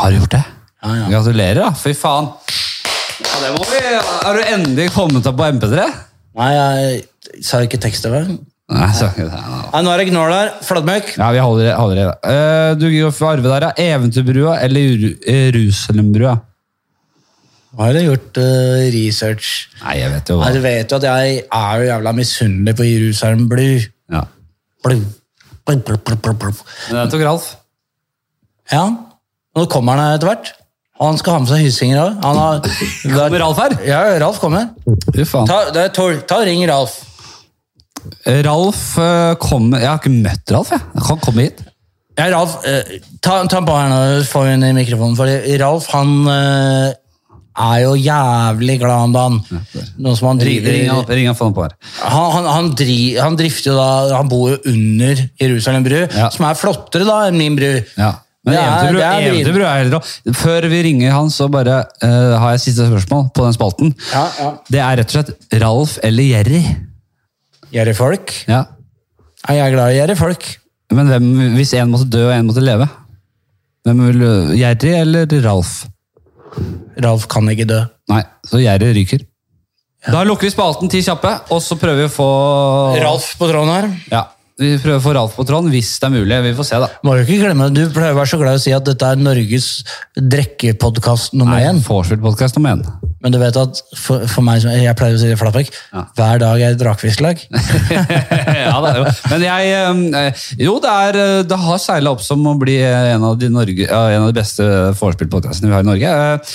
S1: Har du gjort det?
S2: Ja, ja.
S1: Gratulerer, da. Fy faen. Ja, det må vi. Har du endelig kommet opp på MP3?
S2: Nei, jeg sa ikke tekst-TV. Nei,
S1: Nei, så, nei, nei.
S2: nå er det gnål der. Fladmøkk.
S1: Ja, vi holder det. Holder det. Eh, du går for Arve der, ja. Eventyrbrua eller Jeru- Jerusalembrua?
S2: Nå har jeg gjort eh, research.
S1: Nei, jeg vet jo
S2: Nei,
S1: hva.
S2: du vet jo at jeg er jo jævla misunnelig på Jerusalem Blue.
S1: Ja.
S2: Blue. Blue, blue, blue, blue, blue.
S1: Men den tok Ralf.
S2: Ja, nå kommer han her etter hvert. Og han skal ha med seg hyssinger òg. Han har
S1: [laughs] Kommer Ralf her?
S2: Ja, Ralf kommer.
S1: Fy faen.
S2: Ta, det er Tor. Ta og ring Ralf.
S1: Ralf eh, kommer Jeg har ikke møtt Ralf, jeg. Han kommer hit.
S2: Ja, Ralf, eh, ta, ta på her nå, få henne i mikrofonen, fordi Ralf, han eh, er jo jævlig glad om dagen. Noe som han
S1: Ring, ring,
S2: driver...
S1: han- ring han faen på her.
S2: Han, han, han, dri, han drifter jo da, han bor jo under Jerusalem bru,
S1: Ja.
S2: som er flottere da enn min bru.
S1: Ja. Men
S2: Det er-
S1: Eventyrbrød
S2: det er vrient.
S1: Eventyrbrød er helt rå. Før vi ringer han, så bare eh, har jeg siste spørsmål på den spalten.
S2: Ja, ja.
S1: Det er rett og slett Ralf eller Jerry.
S2: Gjerrig folk?
S1: Ja.
S2: Ja, jeg er glad i gjerrig folk.
S1: Men hvem, hvis en måtte dø og en måtte leve? Hvem vil, Jerry eller Ralf?
S2: Ralf kan ikke dø.
S1: Nei, så gjerdet ryker. Da lukker vi spalten ti kjappe, og så prøver vi å få
S2: Ralf på tråden her.
S1: Ja, Vi prøver å få Ralf på tråden, hvis det er mulig. Vi får se, da.
S2: Må jo ikke glemme, Du pleier å være så glad i å si at dette er Norges drikkepodkast nummer én.
S1: Vorspiel-podkast nummer én.
S2: Men du vet at for, for meg, som- jeg pleier å si det flatback, hver dag er et
S1: [laughs]
S2: drakfisklag.
S1: ja, det er jo. Men jeg eh, Jo, det, er, eh, det har seila opp som å bli eh, en av de, Norge, ja, en av de beste vorspiel-podkastene vi har i Norge. Eh,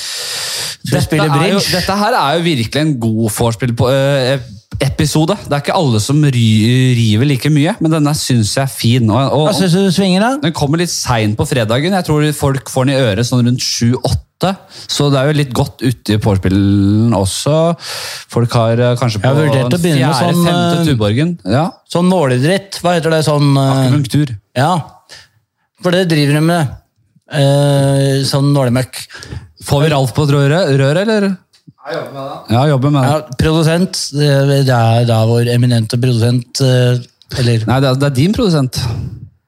S2: vi spille
S1: er jo,
S2: bridge?
S1: dette her er jo virkelig en god vorspiel-episode. Det er ikke alle som ry, river like mye, men denne syns jeg er fin. Og, og,
S2: Hva syns du svinger, da?
S1: Den kommer litt seint på fredagen. Jeg tror folk får den i øret sånn rundt 7-8. Så det er jo litt godt ute i påspillen også. Folk har eh, kanskje på
S2: Jeg har vurdert å begynne med sånn,
S1: femte
S2: eh,
S1: Tuborgen. Ja,
S2: Sånn nåledritt. Hva heter det? sånn... eh,
S1: Akupunktur.
S2: Ja, for det driver de med. Eh, sånn nålemøkk.
S1: Får vi Ralf på røret, rør, eller? Ja, jobber med det.
S2: Ja, produsent, eh, det er da vår eminente produsent, eh, eller
S1: Nei, det er, det er din produsent.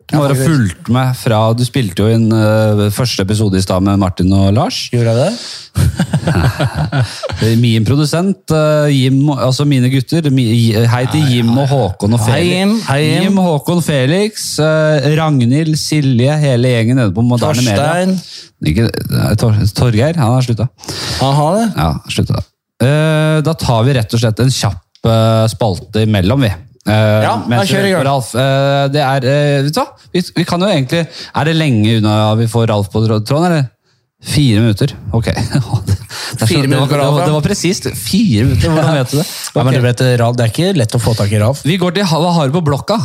S1: Du har
S2: faktisk.
S1: fulgt med fra Du spilte jo inn eh, første episode i stad med Martin og Lars.
S2: gjorde jeg det?
S1: Min produsent, eh, Jim, altså mine gutter. mi- Hei til Jim og Håkon og
S2: Hei,
S1: Felix.
S2: Jim. Hei, Jim.
S1: Jim, Håkon, Felix, eh, Ragnhild, Silje, hele gjengen nede på Moderne Media.
S2: Torstein.
S1: Ikke, nei, Tor, Torgeir, han har slutta.
S2: Aha, det.
S1: Ja, slutta. Eh, da tar vi rett og slett en kjapp eh, spalte imellom, vi. Eh,
S2: Ja,
S1: mens
S2: da
S1: vi
S2: kjører
S1: venter
S2: vi i
S1: på
S2: gang.
S1: Ralf. Eh, det er, eh, vet du hva? Vi, vi kan jo egentlig Er det lenge unna vi får Ralf på trå- tråden, eller? Fire minutter. Ok. [laughs] Det, er så-
S2: Fire
S1: det, var,
S2: minutter på
S1: det,
S2: Ralf,
S1: var,
S2: ja.
S1: det var presist. Fire minutter, hvordan vet du det?
S2: [laughs] Ja, men
S1: Ok.
S2: du vet, Ralf, det er ikke lett å få tak i Ralf.
S1: Vi går til ha- Hva har du på blokka?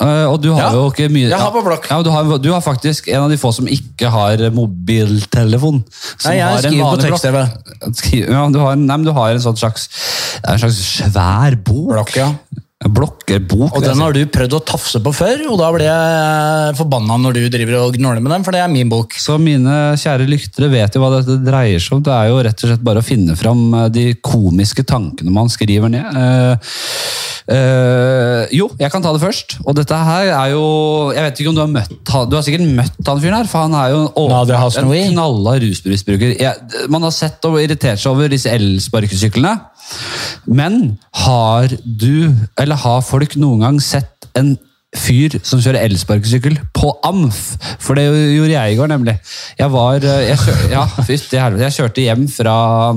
S1: Eh, og du har
S2: Ja,
S1: jo ikke mye
S2: jeg har på blokk.
S1: ja, men du, har, du har faktisk en av de få som ikke har mobiltelefon. Som
S2: Nei, jeg
S1: har en
S2: skriver på
S1: vanlig blokk.
S2: tekst-TV.
S1: Skriver- Ja, du har en, nei, men du har en sånn slags det er en slags svær bok.
S2: Blokk, ja.
S1: Blokk, eller bok.
S2: Og
S1: vil jeg
S2: den
S1: si.
S2: har du prøvd å tafse på før, og da blir jeg forbanna når du driver og gnåler med den, for det er min bok.
S1: Så mine kjære lyktere vet jo hva dette dreier seg om. Det er jo rett og slett bare å finne fram eh, de komiske tankene man skriver ned. Eh, eh, jo, jeg kan ta det først. Og dette her er jo Jeg vet ikke om du har møtt han Du har sikkert møtt han fyren her, for han er jo en
S2: Nadia
S1: åpenbart en
S2: Hasnoui.
S1: knalla rusmisbruker. Jeg- Man har sett og irritert seg over disse elsparkesyklene. Men har du, eller har folk noen gang sett en fyr som kjører elsparkesykkel på AMF? For det gjorde jeg i går, nemlig. Jeg var eh, jeg kjør, Ja, fytti helvete. Jeg kjørte hjem fra,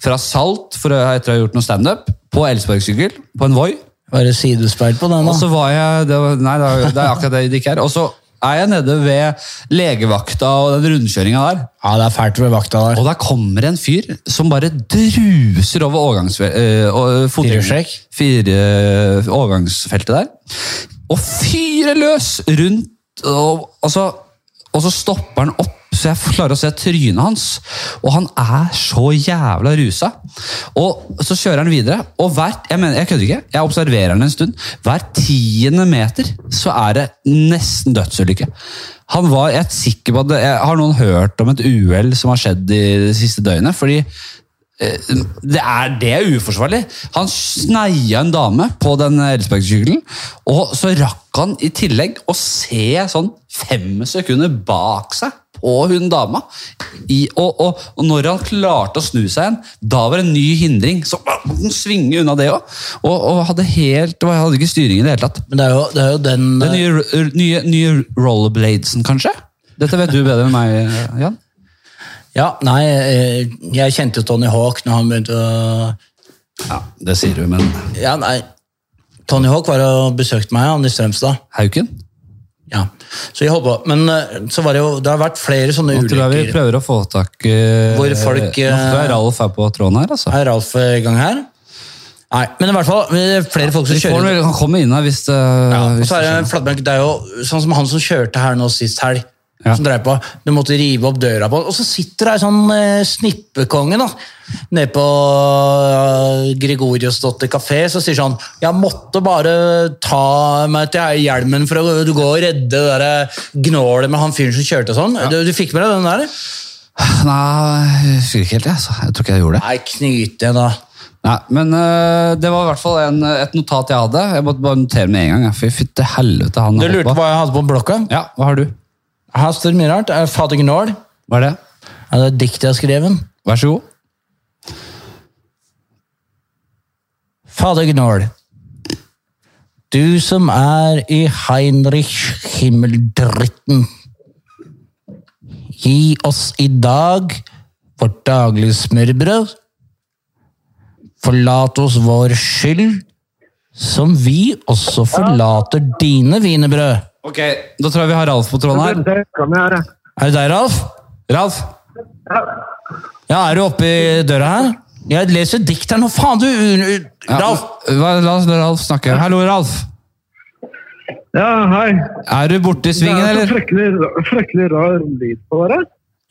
S1: fra Salt for, å- etter å ha gjort noe standup på elsparkesykkel på en Voi.
S2: Bare sidespeil på den,
S1: Og
S2: da.
S1: så var jeg det var, Nei, det er, det er akkurat det det ikke er. Og så er jeg nede ved legevakta og den rundkjøringa der.
S2: Ja, det er fælt ved vakta der.
S1: Og der kommer en fyr som bare druser over overgangs- eh, og- fotgjengerne.
S2: Firehjulstrekk?
S1: Fire, eh, overgangsfeltet der. Og fyrer løs rundt og, og, så, og så stopper han opp, så jeg klarer å se trynet hans. Og han er så jævla rusa. Og så kjører han videre. Og hvert, jeg mener, jeg kødder ikke, jeg observerer han en stund. Hver tiende meter så er det nesten dødsulykke. Han var, jeg er sikker på at det, jeg, Har noen hørt om et uhell som har skjedd i det siste døgnet? Fordi eh, det er, det er uforsvarlig. Han sneia en dame på den elsparkesykkelen, og så rakk han i tillegg å se sånn fem sekunder bak seg på hun dama. I, og, og, og når han klarte å snu seg igjen, da var det en ny hindring. Så han svinge unna det òg. Og, og hadde helt, og hadde ikke styring i det hele tatt.
S2: Men det er jo, det er jo den,
S1: Den nye, r- nye, nye rollerbladesen, kanskje? Dette vet du bedre enn meg, Jan.
S2: Ja, nei, eh, jeg kjente jo Tony Hawk når han begynte å
S1: Ja, Det sier du, men
S2: Ja, nei. Tony Hawk var og besøkte meg, han i Strømstad.
S1: Hauken?
S2: Ja. Så vi holdt på. Men eh, så var det jo Det har vært flere sånne
S1: Nå tror jeg vi
S2: ulykker.
S1: prøver å få tak eh,
S2: Hvor folk, eh,
S1: Nå tror jeg Ralf er på tråden her, altså.
S2: Er Ralf i gang her? Nei, men i hvert fall eh, flere folk som
S1: Vi får
S2: kjører.
S1: vel- Han kommer inn her hvis det
S2: Og
S1: hvis
S2: så er
S1: det
S2: det en flatbank, det er jo sånn som han som kjørte her nå sist helg.
S1: skjer.
S2: som dreier på. Du måtte rive opp døra på, og så sitter det ei sånn eh, snippekonge da, nede på eh, Gregoriosdotter kafé, så sier sånn, jeg måtte bare ta meg til hjelmen for å gå og redde det der eh, gnålet med han fyren som kjørte og sånn. Du, du fikk med deg den der?
S1: [laughs] Nei, jeg husker ikke helt, jeg. Altså. Jeg tror ikke jeg gjorde det.
S2: Nei, knyte da.
S1: Nei, Men øh, det var i hvert fall en, et notat jeg hadde. Jeg måtte bare notere med en gang. jeg. Fy fytte helvete, han
S2: Du
S1: holdt
S2: lurte
S1: på.
S2: hva jeg hadde på blokka?
S1: Ja, hva har du?
S2: Her står det mye rart. Eh, Fader Gnål.
S1: Hva er det?
S2: Ja, det er diktet jeg har skrevet.
S1: Vær så god.
S2: Fader Gnål. Du som er i Heinrich Himmeldritten. Gi oss i dag vårt daglige smørbrød. Forlat oss vår skyld, som vi også forlater dine wienerbrød.
S1: Ok, Da tror jeg vi har Ralf på tråden her.
S3: Det kan jeg gjøre.
S2: Er du der, Ralf?
S1: Ralf?
S2: Ja, er du oppe i døra her? Jeg leser dikt her nå. Faen, du! u- u-
S1: Ja,
S2: Ralf!
S1: hva- La oss la Ralf snakke. Hallo, Ralf.
S3: Ja, hei.
S1: Er du borte i
S3: Det
S1: svingen,
S3: er så
S1: eller?
S3: fryktelig, fryktelig rar lyd på dere.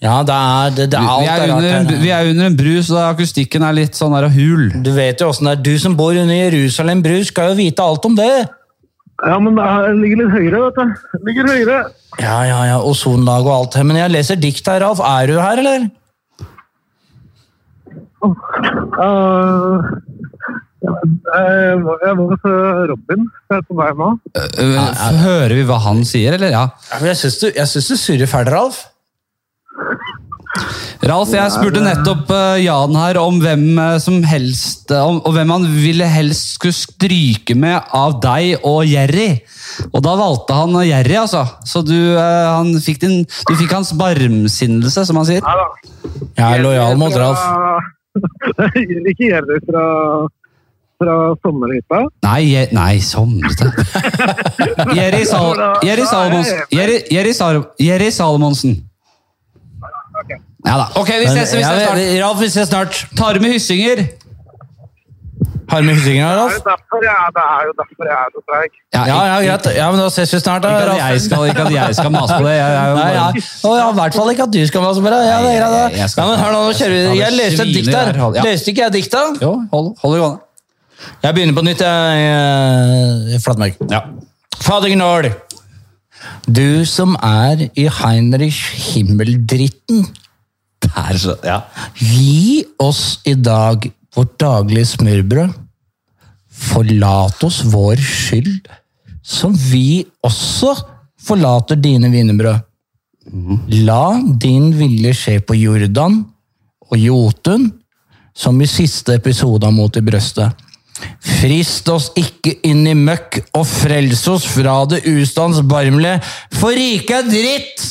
S2: Ja, det er, det, det er
S1: Vi
S2: alt
S1: er
S2: er
S1: under,
S2: rart
S1: en- vi
S2: her.
S1: er under en bru, så akustikken er litt sånn der hul.
S2: Du vet jo åssen det er. Du som bor under Jerusalem bru, skal jo vite alt om det.
S3: Ja, men det er- jeg ligger litt høyere, vet du. Jeg Ligger høyere.
S2: Ja, ja, ja. Ozonlag og alt. Men jeg leser dikt her, Ralf. Er du her, eller?
S3: Uh, jeg var- jeg var hos eh, Robin jeg er på vei nå.
S1: Øh, Hører vi hva han sier, eller? Ja.
S2: Ja, men Jeg syns du, jeg syns du surrer fælt, Ralf.
S1: Ralf, jeg spurte nettopp eh, Jan her om hvem eh, som helst eh, om, Og hvem han ville helst skulle stryke med av deg og Jerry. Og da valgte han eh, Jerry, altså. Så du, eh, han fikk, din, du fikk hans barmsinnelse, som han sier.
S3: Nei da.
S2: Jeg er lojal mot Ralf.
S3: [laughs] Ikke Jerry fra, fra sommerhytta.
S1: Nei, Je- nei somrete. [laughs] Jerry, Sal Jerry Salomonsen. Jerry, Jerry, Sal Jerry Salomonsen. Ja da. Ok, vi ses, vi ses
S2: Ja,
S1: snart.
S2: vi- Ralf, vi ses snart.
S1: Tar med hyssinger.
S2: Har du med hyssinger,
S3: Det er jo
S2: Ralf?
S3: derfor jeg er, det er, jo derfor jeg er så treig.
S2: Ja, ja, greit. Ja, men Da ses vi snart, da.
S1: Ikke at jeg
S2: Ralf.
S1: skal, ikke at jeg skal mase på det. Jeg, jeg,
S2: Nei, ja. Og ja, i hvert fall ikke at du skal være så bra. Ja, det er greit,
S1: Nei, jeg
S2: da.
S1: skal-
S2: ja, men hør nå, nå kjører vi. Jeg leste et dikt her.
S1: Ja.
S2: Leste ikke jeg diktet?
S1: Jo, hold, hold det gående.
S2: Jeg begynner på nytt, jeg, eh, Flatmark. Fader Gnål, du som er i Heinrich Himmeldritten, gi oss i dag vårt daglige smørbrød. Forlat oss vår skyld, som vi også forlater dine wienerbrød. La din vilje skje på Jordan og Jotun, som i siste episode av Mot i brøstet. Frist oss ikke inn i møkk, og frels oss fra det ustands barmle, for riket er dritt!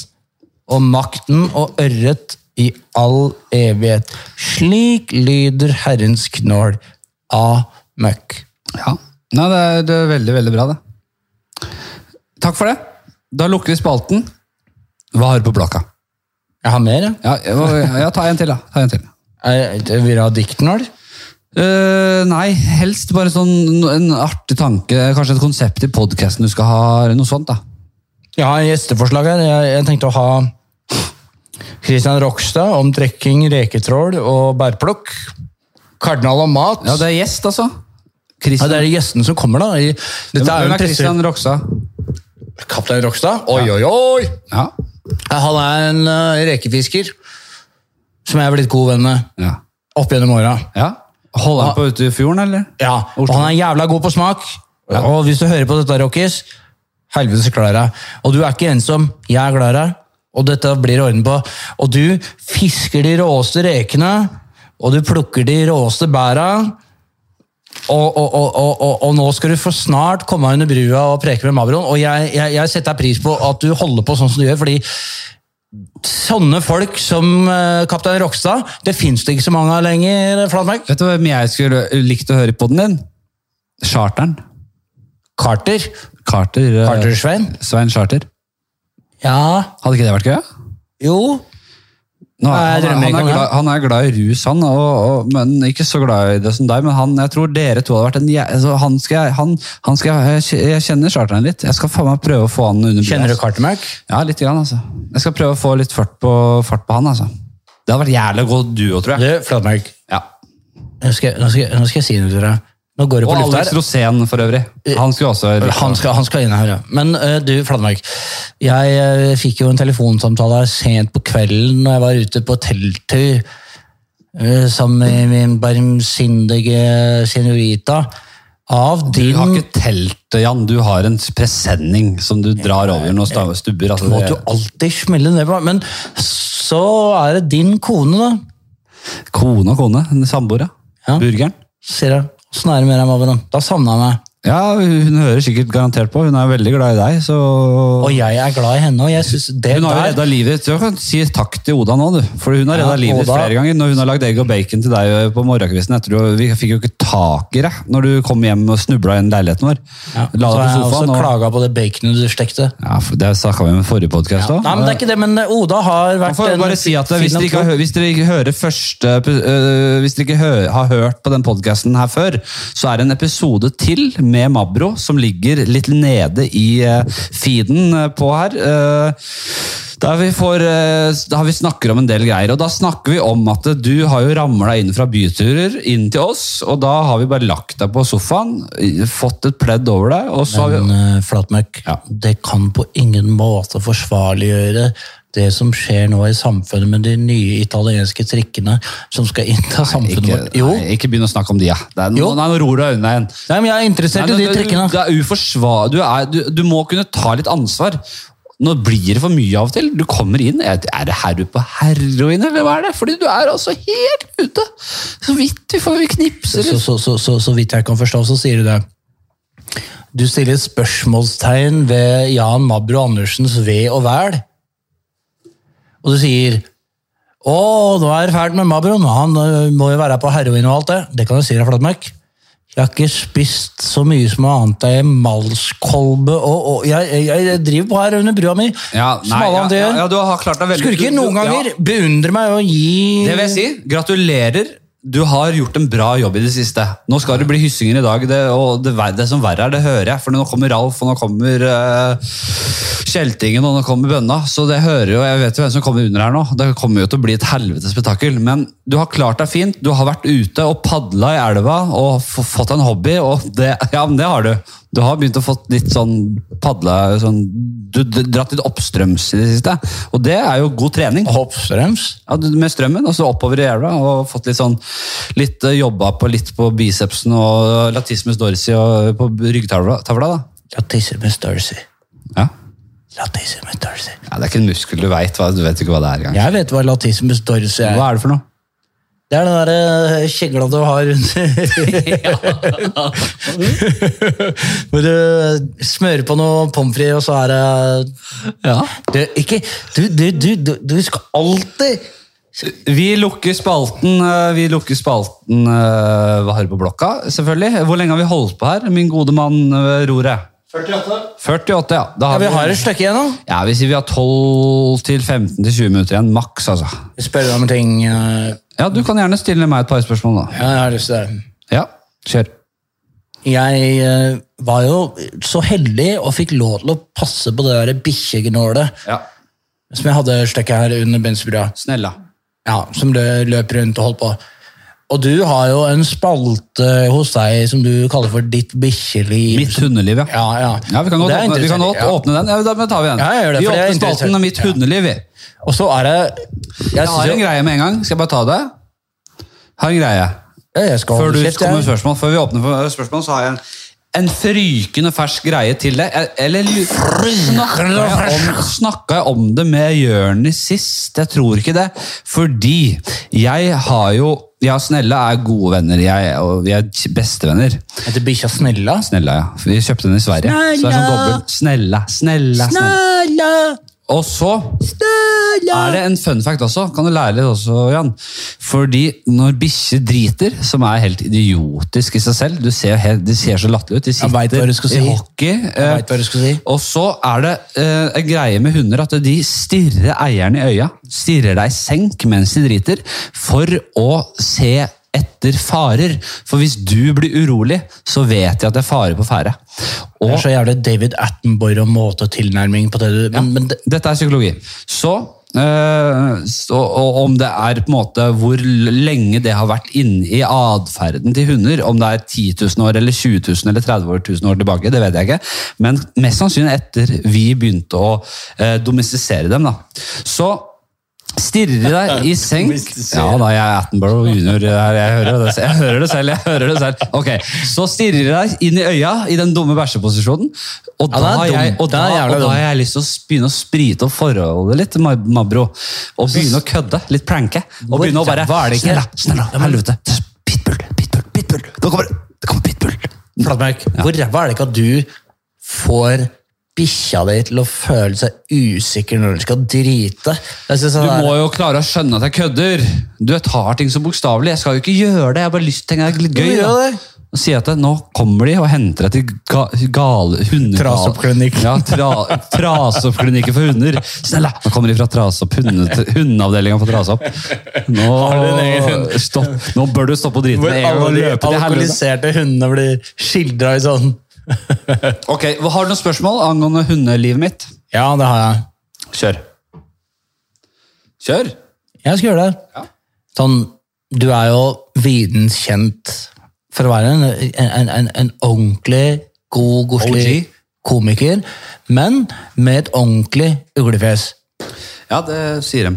S2: og makten og ørret i all evighet. Slik lyder Herrens knål av møkk.
S1: Ja. Nei, det er, det er veldig, veldig bra, det. Takk for det. Da lukker vi spalten. Hva har du på blokka?
S2: Jeg har mer, jeg.
S1: Ja, jeg, ja, ta en til, da. Ta en til.
S2: jeg. jeg Vil du ha diktknål?
S1: Eh, nei, helst bare sånn en artig tanke. Kanskje et konsept i podkasten du skal ha. eller Noe sånt, da.
S2: Jeg har gjesteforslag her. Jeg, jeg tenkte å ha Christian Rokstad om trekking, reketrål og bærplukk. Kardinal om mat.
S1: Ja, det er gjest, altså.
S2: Ja,
S1: Christian.
S2: det er gjestene som kommer, da. i- Dette er jo
S1: Hvem
S2: en
S1: er
S2: presse...
S1: Christian Rokstad?
S2: Kaptein Rokstad. Oi, oi, oi!
S1: Ja.
S2: Ja, Han er en eh, rekefisker som jeg er blitt god venn med
S1: ja.
S2: opp gjennom åra.
S1: ja. Holder han på ute i fjorden, eller?
S2: Ja, og han er jævla god på smak. Og hvis du hører på dette, Rockies, helvetes Klara. Og du er ikke ensom. Jeg er glad i deg, og dette blir orden på. Og du fisker de råeste rekene, og du plukker de råeste bæra. Og, og, og, og, og, og nå skal du for snart komme under brua og preke med Mabroen. Og jeg, jeg, jeg setter pris på at du holder på sånn som du gjør, fordi sånne folk som eh, kaptein Rokstad, det fins det ikke så mange av lenger. Flatmark.
S1: Vet du hvem jeg skulle likt å høre på den din? Charteren.
S2: Carter.
S1: Carter. eh,
S2: Carter Svein.
S1: Svein Charter.
S2: Ja,
S1: Hadde ikke det vært gøy?
S2: jo.
S1: Nå,
S2: Hva
S1: han, er- han, er
S2: er drømmeregelen her?
S1: glad, han er glad i rus, han, og, og, men ikke så glad i det som deg. Men han, jeg tror dere to hadde vært en jæ- altså, han skal, jeg- han, han skal, jeg, jeg kjenner charteren litt. Jeg skal faen meg prøve å få han under
S2: Kjenner du
S1: altså.
S2: kartemerk?
S1: Ja, litt grann, altså. Jeg skal prøve å få litt fart på, fart på han, altså. Det hadde vært jævlig god duo, tror
S2: Du,
S1: jeg.
S2: Flatmark,
S1: Ja.
S2: nå skal, jeg- nå, skal, jeg- nå skal jeg si noe til deg. Nå går det
S1: Og
S2: på lufta
S1: Alex
S2: her. Eh,
S1: Rosén, for øvrig. Han skulle også
S2: Han skal, han skal inn her, ja. Men eh, du, Flatmark. Jeg eh, fikk jo en telefonsamtale her sent på kvelden når jeg var ute på telttur eh, sammen med min barmsindige senorita. Av
S1: Du
S2: din
S1: har ikke telt, Jan. Du har en presenning som du drar over noen stav- stubber. Altså,
S2: Må
S1: det-
S2: du alltid smelle ned på Men så er det din kone, da.
S1: Kone og kone. en Samboer, ja.
S2: Ja.
S1: Burgeren.
S2: Sier jeg. Åssen er det med deg, Mavro? Da savna jeg meg.
S1: Ja, hun hører sikkert garantert på. Hun er veldig glad i deg, så
S2: Og jeg er glad i henne, og jeg synes det
S1: Hun har jo
S2: der
S1: redda livet ditt. Du kan si takk til Oda nå, du. For hun har
S2: Ja,
S1: redda livet ditt
S2: Oda.
S1: flere ganger. Når hun har lagd egg og bacon til deg eh, på morgenkvisten etter du Vi fikk jo ikke tak i deg når du kom hjem og snubla inn i leiligheten vår.
S2: ja.
S1: La deg på
S2: Så har jeg også
S1: sofaen og
S2: klaga på det baconet du stekte.
S1: ja, for Det snakka vi om i forrige podkast òg.
S2: Nei, men det er ikke det, men eh, Oda har
S1: Man
S2: vært
S1: får jo
S2: en
S1: bare si at
S2: fin
S1: hvis dere, ikke har,
S2: antropolog.
S1: hø- hvis dere ikke hører første øh, Hvis dere ikke hø, har hørt på den podcasten her før, så er det en episode til med Mabro som ligger litt nede i øh, feeden øh, på her. øh, der vi får, øh, da har vi snakker om en del greier, og da snakker vi om at du har jo ramla inn fra byturer inn til oss, og da har vi bare lagt deg på sofaen, i- fått et pledd over deg, og så har vi
S2: Men eh, Flatmark,
S1: Ja.
S2: det kan på ingen måte forsvarliggjøre det som skjer nå i samfunnet med de nye italienske trikkene som skal innta samfunnet
S1: ikke,
S2: vårt. Jo,
S1: nei, ikke begynn å snakke om de, ja. Det er, nå,
S2: Jo.
S1: nei, nå ror du deg unna igjen.
S2: nei, men jeg er interessert
S1: Nei,
S2: i de
S1: men
S2: trikkene.
S1: Det er uforsvar... Du, er, du, du må kunne ta litt ansvar. Nå blir det for mye av og til. Du kommer inn Er er det her du på heroin, eller hva er det? Fordi du er altså helt ute. Så vidt du får vi knipser.
S2: så, så, så, så, så vidt jeg kan forstå, så sier du det. Du stiller spørsmålstegn ved Jan Mabro Andersens ve og vel. Og du sier å, nå er det fælt med Mabro, nå, han ø, må jo være på heroin og alt det. Det kan du si deg, Flatmark. Jeg har ikke spist så mye som noe annet enn malskolbe og, og jeg, jeg, jeg driver på her under brua mi,
S1: Ja,
S2: som alle andre
S1: ja,
S2: gjør.
S1: ja, du har klart deg veldig
S2: Skurker
S1: du-
S2: noen
S1: du- ja.
S2: ganger beundrer meg og gir
S1: Det vil jeg si. Gratulerer. Du har gjort en bra jobb i det siste. Nå skal det bli hyssinger i dag, det, og det, ver- det som verre er, det hører jeg. For nå kommer Ralf, og nå kommer eh, Kjeltingen, og nå kommer Bønna. Så det hører jo, jeg vet jo hvem som kommer under her nå. Det kommer jo til å bli et helvetes spetakkel. Men du har klart deg fint. Du har vært ute og padla i elva og f fått en hobby, og det, ja, men det har du. Du har begynt å få litt sånn padla sånn, Du du- dratt litt oppstrøms i det siste, og det er jo god trening.
S2: Hoppstrøms.
S1: Ja, du- med strømmen, og så oppover i elva, og fått litt sånn litt eh, jobba på litt på bicepsen og latismus dorsi og eh, på ryggtavla, tavla, da.
S2: Latisse med størrelse.
S1: Ja.
S2: Latissimus dorsi.
S1: ja, det er ikke en muskel du veit, du vet ikke hva det er engang.
S2: Jeg vet hva latissimus dorsi er.
S1: Hva er det for noe?
S2: Det er den derre eh, kjegla du
S1: [laughs]
S2: har rundt Hvor du eh, smører på noe pommes frites, og så er det
S1: Ja.
S2: du, ikke, du, du, du, du, du skal alltid
S1: Vi lukker spalten, eh, vi lukker spalten eh, Hva har du på blokka, selvfølgelig. Hvor lenge har vi holdt på her, min gode mann eh, Rore? 48. 48, ja. Da
S2: ja, Vi har
S1: vi,
S2: et stykke igjen nå.
S1: ja, vi sier vi har 12 til 15 til 20 minutter igjen, maks, altså.
S2: Jeg spør deg om ting. eh,
S1: Ja, du kan gjerne stille meg et par spørsmål, da.
S2: Ja, jeg har lyst til det.
S1: Ja, kjør.
S2: Jeg eh, var jo så heldig og fikk lov til å passe på det der bikkjegnålet
S1: Ja.
S2: som jeg hadde stykket her under Bensbrua.
S1: Snella.
S2: ja, som lø- løp rundt og holdt på. Og du har jo en spalte hos deg som du kaller for ditt bikkjeliv.
S1: Mitt hundeliv, ja.
S2: Ja, ja.
S1: Ja, Vi kan godt,
S2: Det
S1: åpne, vi
S2: er
S1: kan
S2: interessant,
S1: godt
S2: ja.
S1: åpne den. Ja, da men tar vi den.
S2: Ja, jeg gjør det,
S1: vi
S2: for det er
S1: åpner spalten
S2: interessant.
S1: av mitt
S2: Ja.
S1: hundeliv. vi.
S2: Og så er det Jeg,
S1: Jeg har
S2: synes
S1: en
S2: jo-
S1: greie med en gang. Skal jeg bare ta det? Har en greie.
S2: Ja, jeg skal
S1: Før
S2: holde
S1: du
S2: kjeft,
S1: kommer med
S2: jeg.
S1: spørsmål, før vi åpner for spørsmål, så har jeg en, en frykende fersk greie til deg. Jeg- Eller snakka jeg, om- snakka jeg om det med Jørnis sist? Jeg tror ikke det. Fordi jeg har jo Jeg og Snella er gode venner. Jeg, og vi er bestevenner.
S2: Heter bikkja Snella?
S1: Snella, ja. Vi kjøpte den i Sverige. Så det er sånn dobbelt. Snella, snella, snella. Og så er det en fun fact også. Kan du lære litt også, Jan? Fordi når bikkjer driter, som er helt idiotisk i seg selv Du ser, helt, de ser så latterlig ut. De sitter
S2: vet hva du skal si.
S1: i hockey. eh,
S2: vet hva du skal si.
S1: Og så er det eh, en greie med hunder at de stirrer eieren i øya. Stirrer deg i senk mens de driter, for å se etter farer. For hvis du blir urolig, så vet de at det er fare på ferde. Og
S2: Det er så jævlig David Attenborough-måte og tilnærming på det du men, men det,
S1: Dette er psykologi. Så, eh, så og om det er på en måte hvor lenge det har vært inne i atferden til hunder, om det er 10 000 år eller 20 000 eller 30 000 år tilbake, det vet jeg ikke. Men mest sannsynlig etter vi begynte å eh, domestisere dem. da. Så stirrer de deg i senk. Ja da, jeg er Attenborough junior. Jeg, jeg, hører det, jeg hører det selv. jeg hører det selv. Ok, Så stirrer de deg inn i øya i den dumme bæsjeposisjonen. Og
S2: Ja,
S1: da
S2: den er
S1: har
S2: dum.
S1: jeg, og da,
S2: Den er
S1: og
S2: jævla
S1: da
S2: dum.
S1: har jeg lyst til å s- begynne å sprite opp forholdet litt, Ma- Mabro. Og begynne å kødde. Litt pranke. Og begynne å bare
S2: Hva er det ikke?
S1: Snella, snella, helvete. Pitbull, pitbull, pitbull. Nå kommer det. Det kommer pitbull.
S2: Flatmark, hvor ræva er det ikke at du får bikkja di til å føle seg usikker når du skal drite? Jeg synes sånn
S1: Du
S2: det er-
S1: må jo klare å skjønne at jeg kødder. Du tar ting så bokstavelig. Jeg skal jo ikke gjøre det. Jeg har bare lyst til å tenke at det er litt
S2: Du
S1: gøy.
S2: gjør
S1: da.
S2: det.
S1: Og si at det, nå kommer de og henter deg til ga, gale hunder...
S2: Trasoppklinikk.
S1: Ja, tra, trasoppklinikker for hunder. Snella! Nå kommer de fra trasopp, hunde, hundeavdelingen for trasopp. Nå,
S2: du en egen hund?
S1: stopp, nå bør du stoppe å drite
S2: Hvor
S1: med en gang og
S2: alle de
S1: løpe til helvete.
S2: alkoholiserte hundene blir skildra i sånn
S1: Ok, Har du noen spørsmål angående hundelivet mitt?
S2: Ja, det har jeg.
S1: Kjør. Kjør!
S2: Jeg skal gjøre det.
S1: Ja.
S2: Sånn, du er jo videns kjent for å være en, en, en, en ordentlig god, godslig
S1: OG.
S2: komiker, men med et ordentlig uglefjes.
S1: Ja, det sier de.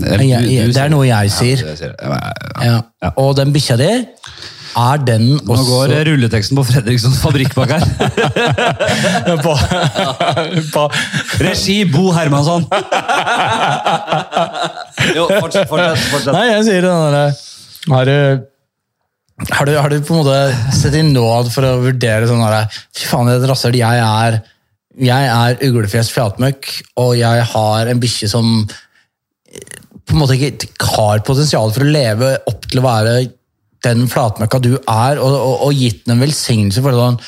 S1: Det
S2: Jeg- jeg- Det er noe jeg
S1: sier.
S2: sier.
S1: det sier de. Ja. eh,
S2: Ja. Og den bikkja di, er den
S1: Nå
S2: også
S1: går rulleteksten på Fredrikssons fabrikk bak her.
S2: på, [laughs] på,
S1: Regi Bo Hermansson. Jo, fortsett, fortsett. fortsett.
S2: Nei, jeg sier det den derre har du, har, du, har du på en måte sett i nåd for å vurdere sånn derre Fy faen, det er et rasshøl. Jeg er, jeg er uglefjes flatmøkk, og jeg har en bikkje som på en måte ikke har potensial for å leve opp til å være den flatmøkka du er, og, og, og gitt den en velsignelse for sånn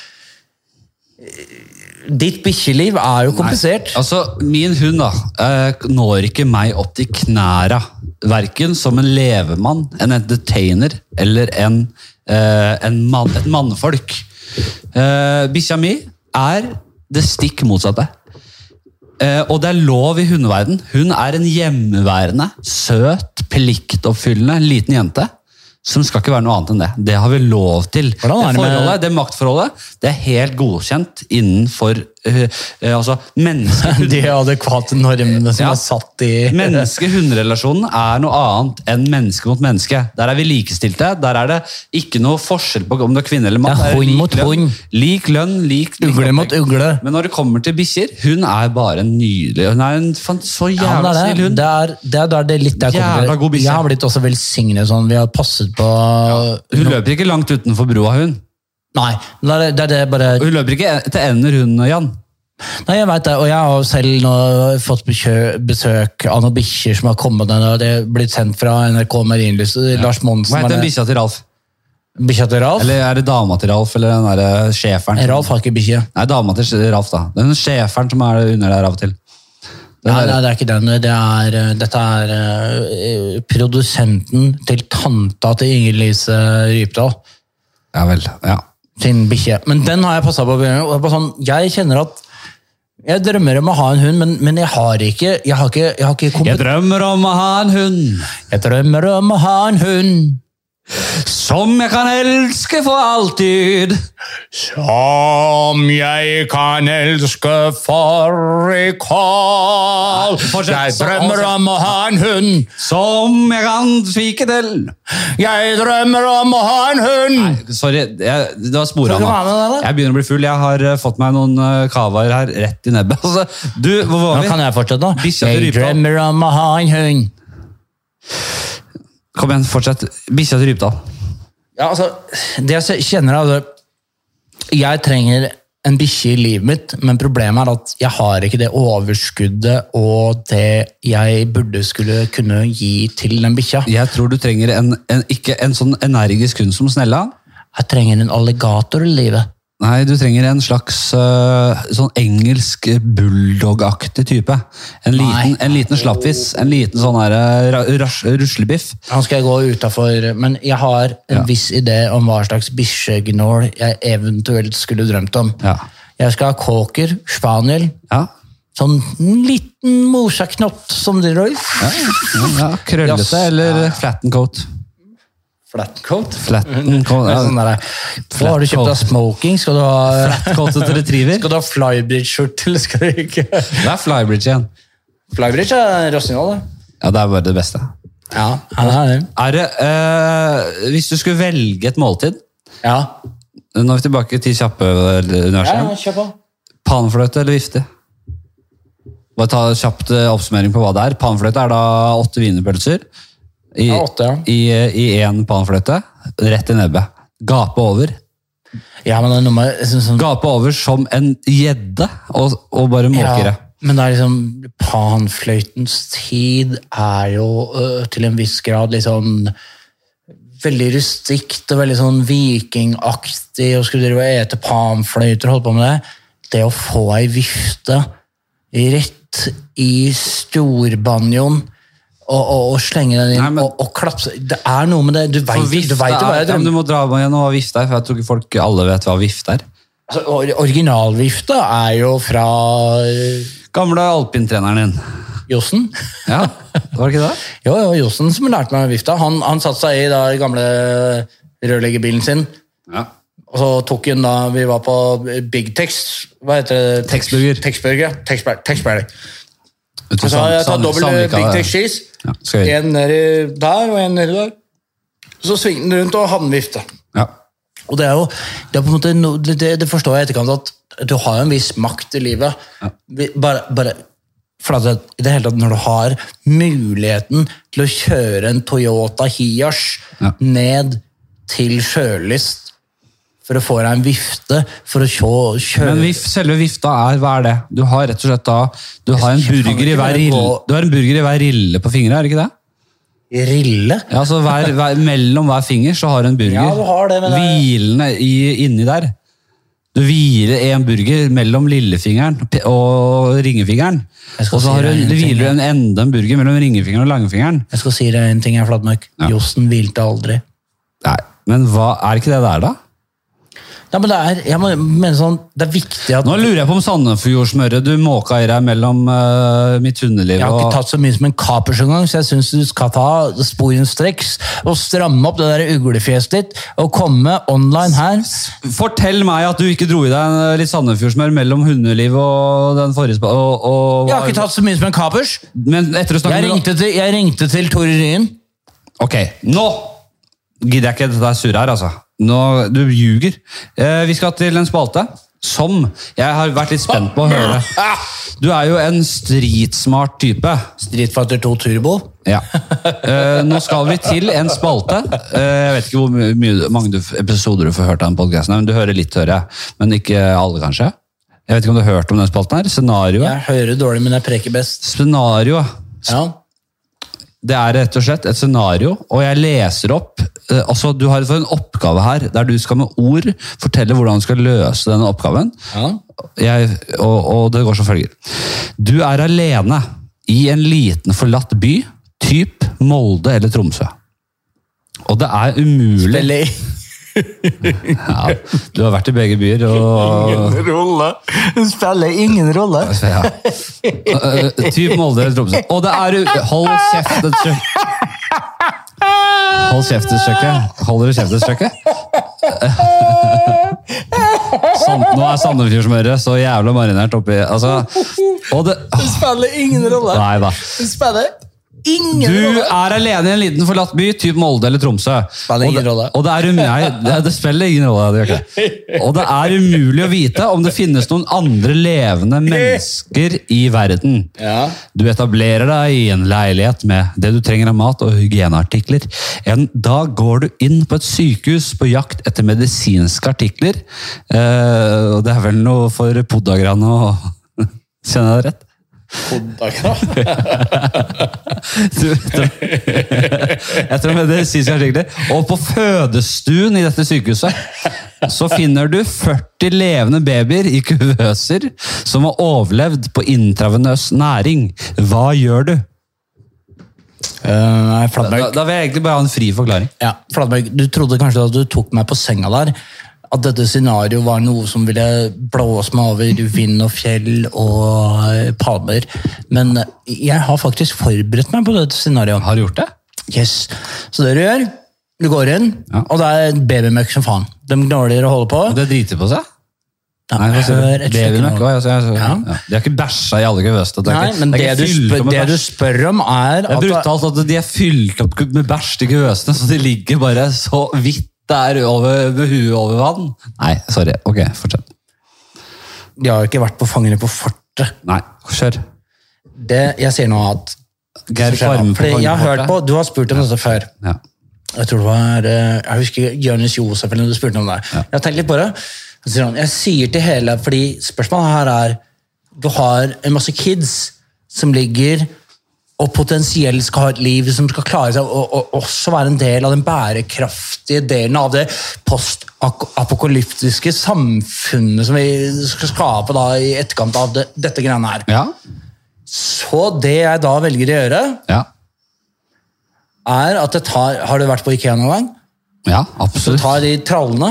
S2: Ditt bikkjeliv er jo komplisert.
S1: Altså, Min hund da, eh, når ikke meg opp til knæra. Verken som en levemann, en entertainer eller en, eh, en mann, et mannfolk. Eh, Bikkja mi er det stikk motsatte. Eh, og det er lov i hundeverden. Hun er en hjemmeværende, søt, pliktoppfyllende liten jente. Som skal ikke være noe annet enn det. Det har vi lov til. Det,
S2: Hvordan er det med-
S1: forholdet, det maktforholdet det er helt godkjent innenfor eh, eh, altså, menneske,
S2: [laughs] De adekvate normene som
S1: Ja.
S2: er satt
S1: [laughs]
S2: i
S1: Menneske-hund-relasjonen er noe annet enn menneske mot menneske. Der er vi likestilte. Der er det ikke noe forskjell på om du er kvinne eller mann.
S2: Det er
S1: lik
S2: hund mot
S1: lønn.
S2: hund.
S1: Lik lønn, lik
S2: Ugle mot ugle.
S1: Men når det kommer til bikkjer, hun er bare en nydelig Hun er en fan, så
S2: Ja,
S1: jævla
S2: men det,
S1: snill
S2: er det.
S1: hund.
S2: det er det, er der det litt der kommer
S1: Jævla
S2: til.
S1: god bikkje.
S2: Jeg har blitt også velsignet sånn. Vi har passet på
S1: Hun løper ikke langt utenfor broa, hun.
S2: Nei, det er det, er det bare
S1: Og hun løper ikke til ender, hun, Jan.
S2: Nei, jeg vet det, og jeg har jo selv nå fått bekjø- besøk av noen bikkjer som har kommet ned, og det er blitt sendt fra NRK Marienlyst. Lars
S1: Hva
S2: Monsen
S1: heter
S2: var
S1: den
S2: det.
S1: bikkja til Ralf?
S2: Bikkja til Ralf?
S1: Eller er det dama til Ralf, eller den derre schæferen? som-
S2: Ralf har ikke bikkje.
S1: Nei, dama til Ralf, da. Den schæferen som er under der av og til. Den
S2: Nei,
S1: der-
S2: nei, det er ikke den. Det er, eh, dette er eh, produsenten til tanta til Inger Lise Rypdal.
S1: Ja vel. Ja.
S2: sin bikkje. Men den har jeg passa på. og jeg er bare Sånn, jeg kjenner at jeg drømmer om å ha en hund, men, men jeg har ikke Jeg har ikke, jeg har
S1: Jeg
S2: ikke kompet-
S1: drømmer om å ha en hund
S2: Jeg drømmer om å ha en hund
S1: som jeg kan elske for alltid.
S2: Som jeg kan elske for recall.
S1: fortsett.
S2: Jeg drømmer om å ha en hund.
S1: Som jeg kan fike til.
S2: Jeg drømmer om å ha en hund.
S1: Sorry, jeg, det var spora
S2: Skal du
S1: nå.
S2: være med der, da?
S1: Jeg begynner å bli full. Jeg har eh, fått meg noen eh, cavaer her rett i nebbet. Altså, du, hvor var
S2: Nå
S1: vi?
S2: kan jeg fortsette, da.
S1: Bikkja til
S2: Jeg
S1: Rypdal.
S2: drømmer om å ha en hund.
S1: Kom igjen, fortsett. Bikkja til Rypdal.
S2: Ja, altså, det jeg kjenner er at jeg trenger en bikkje i livet mitt, men problemet er at jeg har ikke det overskuddet og det jeg burde skulle kunne gi til den bikkja.
S1: Jeg tror du trenger en, en, ikke en sånn energisk hund som Snella.
S2: Jeg trenger en alligator i livet.
S1: Nei, du trenger en slags øh, sånn engelsk bulldog-aktig type. En liten, en liten slappis. En liten sånn her, øh, ra- ras- ruslebiff.
S2: Han skal jeg gå utafor, men jeg har en viss idé om hva slags bikkjegnål jeg eventuelt skulle drømt om.
S1: Ja.
S2: Jeg skal ha kåker, spaniel,
S1: Ja.
S2: sånn liten morsaknott som driver og
S1: ja, ja, ja. Krøllete
S2: Yes.
S1: eller flatten coat.
S2: Flatcoat?
S1: Flatten coat, ja.
S2: Sånn der. Hva har du kjøpt deg smoking? Skal du ha, eh,
S1: Flatcoated retriever.
S2: [laughs] skal du ha flybridge-skjorte, eller skal du ikke?
S1: Det er flybridge igjen.
S2: Flybridge er Rossignol, det.
S1: Ja, det er bare det beste.
S2: Ja, han er det.
S1: Er det, øh, hvis du skulle velge et måltid
S2: Ja,
S1: Nå er vi tilbake til kjappe eh,
S2: ja
S1: universet.
S2: kjør på.
S1: Panfløyte eller vifte? Bare ta kjapt eh, oppsummering på hva det er. Panfløyte er da åtte wienerpølser i,
S2: Ja, åtte, ja.
S1: i, eh, i én panfløyte. Rett i nebbet. Gape over.
S2: Ja, men det er noe med sånn, sånn,
S1: Gape over som en gjedde, og, og bare måkere.
S2: Ja, men det er liksom panfløytens tid er jo øh, til en viss grad litt sånn veldig rustikt og veldig sånn vikingaktig og skulle drive og ete panfløyter og holde på med det. Det å få ei vifte rett i storbanjoen og, og, og slenge den inn
S1: Nei, men-
S2: og, og klapse Det er noe med det. Du veit
S1: For
S2: jo
S1: vifte
S2: hva
S1: er,
S2: jeg
S1: ja, men
S2: drømmer
S1: du må dra meg gjennom hva vifte er, for jeg tror ikke folk alle vet hva vifte er.
S2: altså, or- Originalvifta er jo fra øh,
S1: Gamle alpintreneren din.
S2: Jossen.
S1: Ja, var det ikke det?
S2: Jo, jo, Johnsen som lærte meg vifta. Han, han satte seg i da, den gamle rørleggerbilen sin.
S1: Ja.
S2: Og så tok hun da Vi var på Big Tex. Hva heter det?
S1: Texburger.
S2: Texburger, ja. Texbur- Texburger.
S1: Vet du,
S2: Og så har jeg
S1: Sand-
S2: tatt dobbel eh,
S1: Sandvika-
S2: Big Tex cheese.
S1: Ja, skal vi.
S2: En nedi der og en nedi der. Så svingte den rundt og hadde med vifte.
S1: Ja.
S2: Og det er jo, det, er på en måte, no- det, det- det forstår jeg i etterkant, at du har jo en viss makt i livet. Vi- Bare, bare for at det, i det hele tatt, når du har muligheten til å kjøre en Toyota Hiash
S1: Ja.
S2: ned til Sjølyst for å få deg en vifte, for å kjå, kjøre
S1: Men vif, selve vifta er, hva er det? Du har rett og slett da, du har en
S2: kan
S1: burger i
S2: ikke
S1: hver
S2: bare
S1: rille,
S2: gå-
S1: du har en burger i hver rille på fingrene, er det ikke det?
S2: Rille.
S1: Ja, så hver, hver, mellom hver finger så har du en burger.
S2: Ja, du har det, men det er-
S1: Hvilende i, inni der. Du hviler en burger mellom lillefingeren p- og ringefingeren.
S2: Jeg skal
S1: Og så
S2: si
S1: har du,
S2: deg en ting,
S1: hviler du
S2: ja.
S1: en enda en burger mellom ringefingeren og langfingeren.
S2: Jeg skal si deg en ting, jeg, Flatmark. Jossen hvilte aldri.
S1: Nei, men hva, er det ikke det der da?
S2: Ja, men det er, jeg må- mener sånn, det er viktig at
S1: Nå lurer jeg på om Sandefjordsmøret du måka i deg mellom øh, mitt hundeliv
S2: Jeg har
S1: og...
S2: ikke tatt så mye som en kapers engang, så jeg syns du skal ta sporenstreks og stramme opp det der uglefjeset ditt og komme online her.
S1: Fortell meg at du ikke dro i deg en litt Sandefjordsmør mellom hundeliv og den forrige spa- og, og,
S2: Jeg har ikke tatt så mye som en kapers.
S1: Men etter å snakke
S2: Jeg ringte til, jeg ringte til Tore Ryen.
S1: Ok, nå gidder jeg ikke dette surret her, altså. Nå, du ljuger. Eh, vi skal til en spalte som jeg har vært litt spent på å høre.
S2: Ah!
S1: Du er jo en stritsmart type.
S2: Street Fighter 2 Turbo.
S1: Ja. Eh, nå skal vi til en spalte. Eh, jeg vet ikke hvor my- mye, mange du- episoder du får hørt av den podcasten, her, men du hører litt, hører jeg. Men ikke alle, kanskje? Jeg vet ikke om du har hørt om den spalten her? Scenarioet.
S2: Jeg hører dårlig, men jeg preker best.
S1: Scenario.
S2: Ja.
S1: Det er rett og slett et scenario, og jeg leser opp eh, altså Du har en oppgave her der du skal med ord fortelle hvordan du skal løse denne oppgaven.
S2: ja.
S1: Jeg, og, og det går som følger. Du er alene i en liten, forlatt by, typ Molde eller Tromsø. Og det er umulig
S2: Eller
S1: ja, Du har vært i begge byer, og
S2: rolle. Det spiller ingen rolle.
S1: ja. Eh, [laughs] Typ Molde eller Tromsø. Og det er u- Hold kjeft et støkk. Hold kjeft et stykke. Holder du kjeft et stykke? [laughs] Sand, nå er Sandefjordsmøret så jævla marinert oppi altså, og det, åh,
S2: Det spiller ingen rolle.
S1: Nei da.
S2: Det spiller ingen
S1: Du
S2: rolle!
S1: er alene i en liten forlatt by, typ Molde eller Tromsø.
S2: Spiller ingen
S1: Og det-
S2: rolle.
S1: Og det, er um- nei, det, det spiller ingen rolle. Det gjør ikke. det. Og det er umulig å vite om det finnes noen andre levende mennesker i verden.
S2: Ja.
S1: Du etablerer deg i en leilighet med det du trenger av mat og hygieneartikler. En dag går du inn på et sykehus på jakt etter medisinske artikler. Eh, og det er vel noe for podagrene å [laughs] Kjenner jeg det rett?
S2: Podagra.
S1: Du, etter, [laughs] etter medisinske artikler. Og på fødestuen i dette sykehuset så finner du 40 levende babyer i kuvøser som har overlevd på intravenøs næring. Hva gjør du?
S2: Eh, nei, Flatberg.
S1: Da, da vil jeg egentlig bare ha en fri forklaring.
S2: Ja, Flatberg, du trodde kanskje at du tok meg på senga der, at dette scenarioet var noe som ville blåse meg over vind og fjell og eh, palmer. Men eh, jeg har faktisk forberedt meg på dette scenarioet.
S1: Har du gjort det?
S2: Yes. Så det du gjør, du går inn, og det er babymøkk som faen. De gnåler og holder på.
S1: Og det driter på seg?
S2: Ja,
S1: Nei, hva sier
S2: hør
S1: du?
S2: et stykke
S1: Babymøkk?
S2: nå.
S1: Å, ja, så- ja, så-
S2: Ja.
S1: ja. De har ikke bæsja i alle kuvøsene. Det er
S2: Nei,
S1: ikke-
S2: men
S1: det
S2: det,
S1: er ikke
S2: du
S1: fylt opp
S2: spør,
S1: med
S2: det du
S1: bæsj.
S2: spør om, er
S1: Det er
S2: at
S1: brutalt at de er fylt opp med bæsj til kuvøsene, så de ligger bare så vidt der over, med huet over vann. Nei, sorry. Ok, fortsett.
S2: de har jo ikke vært på Fangene på fortet.
S1: Nei, kjør.
S2: Det, jeg sier nå at
S1: Geir Kvarme på
S2: Fordi jeg har hørt
S1: Kongeportet.
S2: på, Du har spurt om dette før.
S1: Ja.
S2: Jeg tror det var, eh, jeg husker Jonis Josef eller noe du spurte om det. Jeg har tenkt litt på det. Så sier han, jeg sier til hele, fordi Spørsmålet her er Du har en masse kids som ligger og potensielt skal ha et liv som skal klare seg, og, og også være en del av den bærekraftige delen av det postapokalyptiske samfunnet som vi skal skape da i etterkant av det, dette greiene her.
S1: Ja.
S2: Så det jeg da velger å gjøre,
S1: ja.
S2: er at det tar Har du vært på Ikea noen gang?
S1: Ja,
S2: Så
S1: absolutt.
S2: tar de trallene,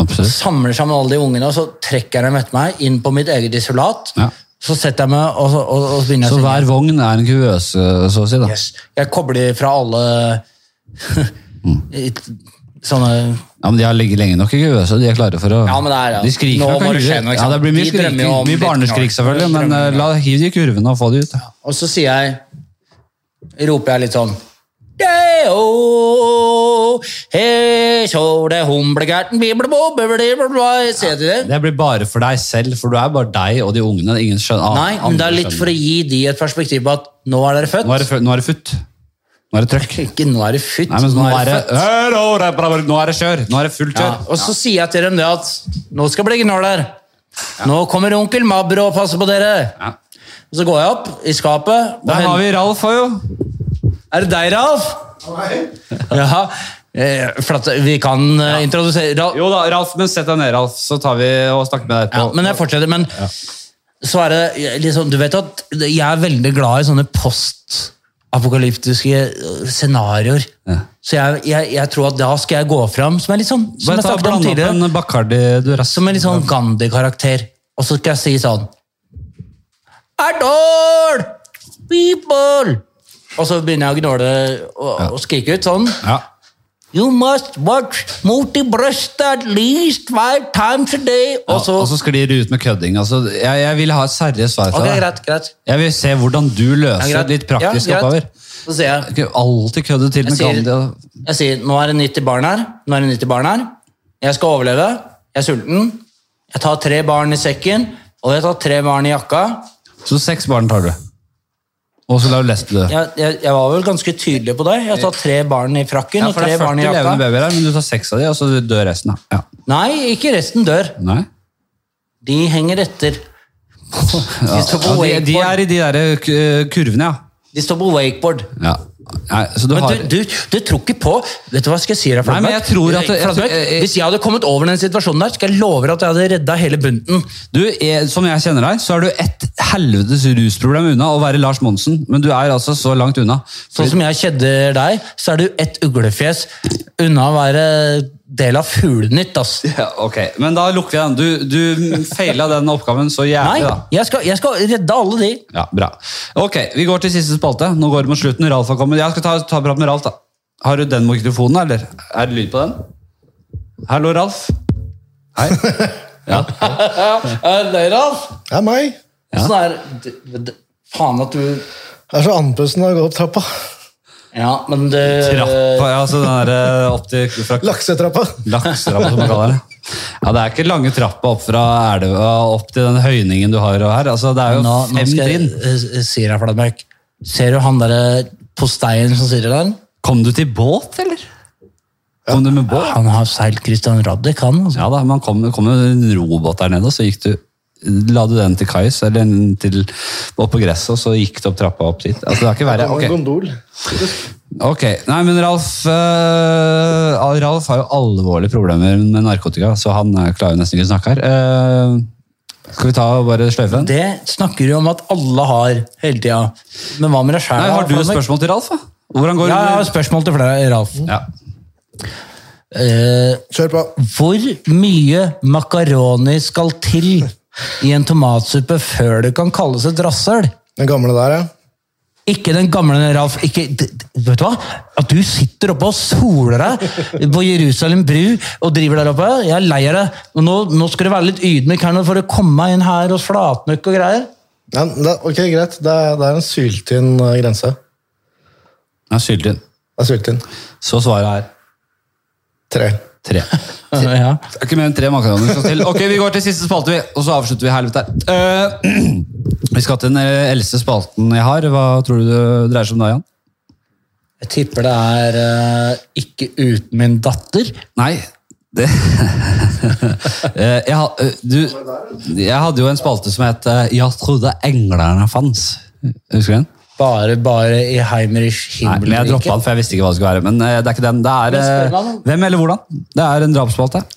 S1: absolutt.
S2: samler sammen alle de ungene, og så trekker jeg dem etter meg inn på mitt eget isolat.
S1: Ja.
S2: Så setter jeg meg, og så, og, og så begynner jeg
S1: Så
S2: å synge.
S1: hver vogn er en kuvøse, så å si. da.
S2: Yes. Jeg kobler fra alle
S1: Mm.
S2: [laughs] i- sånne
S1: Ja, men De har ligget lenge nok i kuvøse. De er klare for å
S2: Ja, men det er, ja.
S1: De skriker
S2: Nå
S1: nok,
S2: må det
S1: kanskje.
S2: skje noe, ikke
S1: Ja,
S2: sant?
S1: det blir mye,
S2: De drømmer
S1: skriking,
S2: jo om
S1: mye
S2: litt
S1: barneskrik,
S2: knall.
S1: selvfølgelig,
S2: De
S1: men
S2: drømmer
S1: eh,
S2: om-
S1: la hiv de kurvene og få de ut.
S2: Og så sier jeg Roper jeg litt sånn Deo, hei, så det humlegerten, biblebo, biblebo, Ser du det?
S1: Det blir bare for deg selv, for du er bare deg og de ungene. Ingen skjønner.
S2: Nei, men det er litt for å gi de et perspektiv på at nå er dere født.
S1: Nå er det, fø- nå er det futt. Nå er det trøkk.
S2: Ikke nå er det futt,
S1: Nei, men nå er det
S2: født.
S1: Hør, nå er det- Nå er det kjør. Nå er det fullt
S2: Ja,
S1: kjør.
S2: og så sier jeg til dem det at nå skal det bli gnål der. Nå kommer onkel Mabro og passer på dere.
S1: Ja.
S2: Og så går jeg opp i skapet. og
S1: Der
S2: hen-
S1: har vi Ralf òg, jo.
S2: Er det deg, Ralf? Ja. eh, For at vi kan eh, introdusere Ralf.
S1: Jo da, Ralf, men sett deg ned, Ralf, så tar vi og snakker med deg
S2: Ja,
S1: etterpå.
S2: men jeg fortsetter. Men så er det liksom Du vet at jeg er veldig glad i sånne postapokalyptiske eh, scenarioer. Så jeg, jeg, jeg tror at da skal jeg gå fram som er litt sånn som
S1: Bare
S2: jeg
S1: ta
S2: snakket om
S1: bland opp
S2: tidligere.
S1: en Bacardi, du rass.
S2: som en litt sånn Gandhi-karakter. Og så skal jeg si sånn Erdal! People! Og så begynner jeg å gnåle og, og skrike ut sånn.
S1: Ja.
S2: You must watch multi breast at least five times a day. Og så
S1: og så sklir du ut med kødding. Altså, jeg, jeg vil ha et seriøst svar fra
S2: Ok,
S1: deg.
S2: greit. greit.
S1: Jeg vil se hvordan du
S2: Ja,
S1: løser
S2: greit.
S1: litt praktisk
S2: Ja, greit.
S1: oppover.
S2: Så sier jeg
S1: Du kan jo alltid kødde til
S2: Jeg
S1: med
S2: sier,
S1: Gandhi. og-
S2: jeg sier nå er det 90 barn her. Nå er det 90 barn her. Jeg skal overleve. Jeg er sulten. Jeg tar tre barn i sekken, og jeg tar tre barn i jakka.
S1: Så seks barn tar du. Og så lar du lesbe dø.
S2: Jeg, jeg, jeg var vel ganske tydelig på det. Jeg har tatt tre barn i frakken
S1: Ja,
S2: og
S1: for det
S2: tre
S1: er
S2: barn
S1: 40
S2: i
S1: levende
S2: jakka.
S1: babyer her, men du tar seks av de, og så dør resten. Da. Ja.
S2: Nei, ikke resten dør.
S1: Nei?
S2: De henger etter. De står på
S1: Ja, de, de
S2: wakeboard.
S1: er i de der eh, kurvene, ja.
S2: De står på wakeboard.
S1: ja. Nei, så du
S2: Men
S1: har...
S2: du, du, du tror ikke på Vet du hva skal jeg si deg,
S1: Nei, men jeg tror at- jeg tror-
S2: Flatberg,
S1: jeg- jeg-
S2: Hvis jeg hadde kommet over den situasjonen der, skal jeg love deg at jeg hadde redda hele bunten.
S1: Du, eh, Som jeg kjenner deg, så er du et helvetes rusproblem unna å være Lars Monsen. Men du er altså så langt unna.
S2: Sånn som jeg kjedder deg, så er du et uglefjes unna å være del av Fuglenytt, ass.
S1: Ja, ok, Men da lukker jeg den. Du, du feila den oppgaven så
S2: Nei,
S1: jævlig, da.
S2: jeg skal, jeg skal redde alle de.
S1: Ja, bra. Ok, Vi går til siste spalte. Nå går det mot slutten. Ralf har kommet. Jeg skal ta, ta prat med Ralf, da. Har du den mikrofonen, eller? Er det lyd på den? Hallo, Ralf. Hei. Ja.
S2: Er Eh, det deg, Ralf?
S4: Det er meg.
S2: Sånn er, d- d- faen at du
S4: Det er så andpusten å gå opp trappa.
S2: Ja, men det
S1: Trappa, ja, så den der eh, opp til fra
S4: Laksetrappa.
S1: Lakserappa, som man kaller det. Ja, Det er ikke lange trappa opp fra elva opp til den høyningen du har her. altså Det er jo
S2: Nå, nå
S1: fem
S2: skal jeg
S1: trinn.
S2: eh, si deg, Flatmark. Ser du han derre posteien som sitter der?
S1: Kom du til båt, eller? Kom du med båt?
S2: Han har seilt Christian Radich, han. Altså.
S1: Ja da, man kom, det kom jo en robåt der nede, og så gikk du La du den til kais, eller den til, opp på gresset, og så gikk du opp trappa opp dit. Altså, det er ikke verre.
S4: Han har en
S1: Ok,
S4: gondol.
S1: ok. Nei, men Ralf eh, Ralf har jo alvorlige problemer med narkotika, så han eh, klarer jo nesten ikke å snakke her. Eh, skal vi ta og bare sløyfe den?
S2: Det snakker du om at alle har hele tida. Men hva med deg sjæl?
S1: Nei, har du et spørsmål til Ralf? da? Hvordan går
S2: Ja, jeg har
S1: det?
S2: et spørsmål til flere, Ralf.
S1: Ja.
S2: Eh,
S4: Kjør på.
S2: hvor mye makaroni skal til i en tomatsuppe før det kan kalles et rasshøl?
S4: Den gamle der, ja.
S2: Ikke den gamle Ralf ikke, d- d- Vet du hva? At du sitter oppe og soler deg på Jerusalem bru og driver der oppe. Jeg er lei av det. Og Nå, nå skal du være litt ydmyk her nå for å komme inn her hos Flatnøkk og greier.
S4: ja det, ok, greit. Det er, det er en syltynn eh, grense.
S1: Jeg er skyldig.
S4: Det er syltynn.
S1: Så svaret er
S4: Tre.
S1: tre.
S2: Ja.
S1: Det er ikke mer enn tre makaroner vi skal til. Ok, vi går til siste spalte, vi. Og så avslutter vi helvete her. Eh, [clears throat] vi skal til den eh, eldste spalten jeg har. Hva tror du det dreier seg om da, Jan?
S2: Jeg tipper det er eh, ikke uten min datter.
S1: Nei, det [laughs] Eh, jeg, ha- eh, du, jeg hadde jo en spalte som het eh, Jeg trodde englerne fanns. Husker du den?
S2: Bare, bare i Heimerich
S1: Nei, men jeg droppa den, for jeg visste ikke hva det skulle være. Men eh, det er ikke den. Det er
S2: Men spør meg
S1: eh,
S2: da.
S1: Hvem eller hvordan? Det er en drapsspalte. Eh,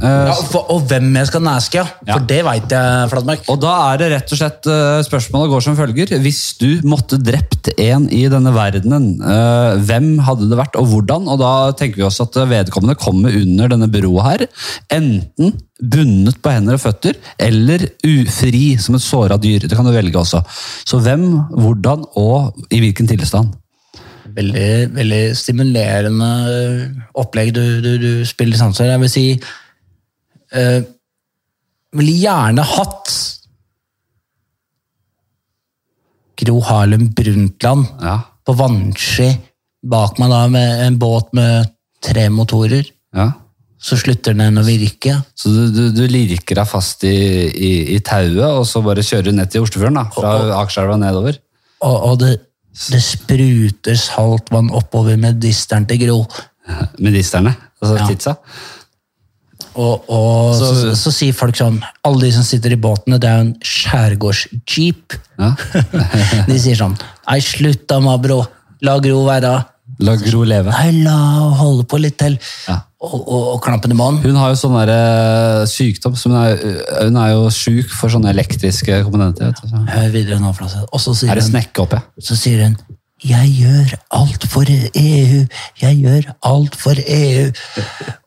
S2: Ja, for, og hvem jeg skal næske, ja. For det veit jeg, Flatmark.
S1: Og da er det rett og slett eh, spørsmålet går som følger. Hvis du måtte drept en i denne verdenen, eh, hvem hadde det vært og hvordan? Og da tenker vi oss at vedkommende kommer under denne broa her. Enten bundet på hender og føtter, eller ufri som et såra dyr. Det kan du velge også. Så hvem, hvordan og i hvilken tilstand?
S2: Veldig, veldig stimulerende eh, opplegg du, du, du spiller sanser. Jeg vil si uh, Ville gjerne hatt Gro Harlem Brundtland
S1: Ja,
S2: på vannski bak meg da med en båt med tre motorer.
S1: ja.
S2: Så slutter den å virke.
S1: Så du, du, du lirker deg fast i, i, i tauet, og så bare kjører du ned til Oslofjorden, da, fra Akerselva nedover?
S2: Og, og det, det spruter saltvann oppover med disteren til Gro.
S1: Ministerne, altså
S2: Ja.
S1: tidsa?
S2: Og, og så, så,
S1: Så-
S2: sier folk sånn Alle de som sitter i båtene, det er jo en skjærgårdsjeep. [laughs]
S1: Ja.
S2: De sier sånn Nei, slutt da, Mabro. La Gro være.
S1: La Gro leve.
S2: Nei, la henne holde på litt til.
S1: Ja.
S2: Og, og, og klampen i mannen.
S1: Hun har jo sånn der, eh, sykdom som hun er, eh, hun er jo sjuk for sånne elektriske komponenter. Vet du. så.
S2: Hør videre nå, Flasse. Og så
S1: Er
S2: sier
S1: det
S2: hun,
S1: snekke opp, ja?
S2: så sier hun jeg gjør alt for EU, jeg gjør alt for EU.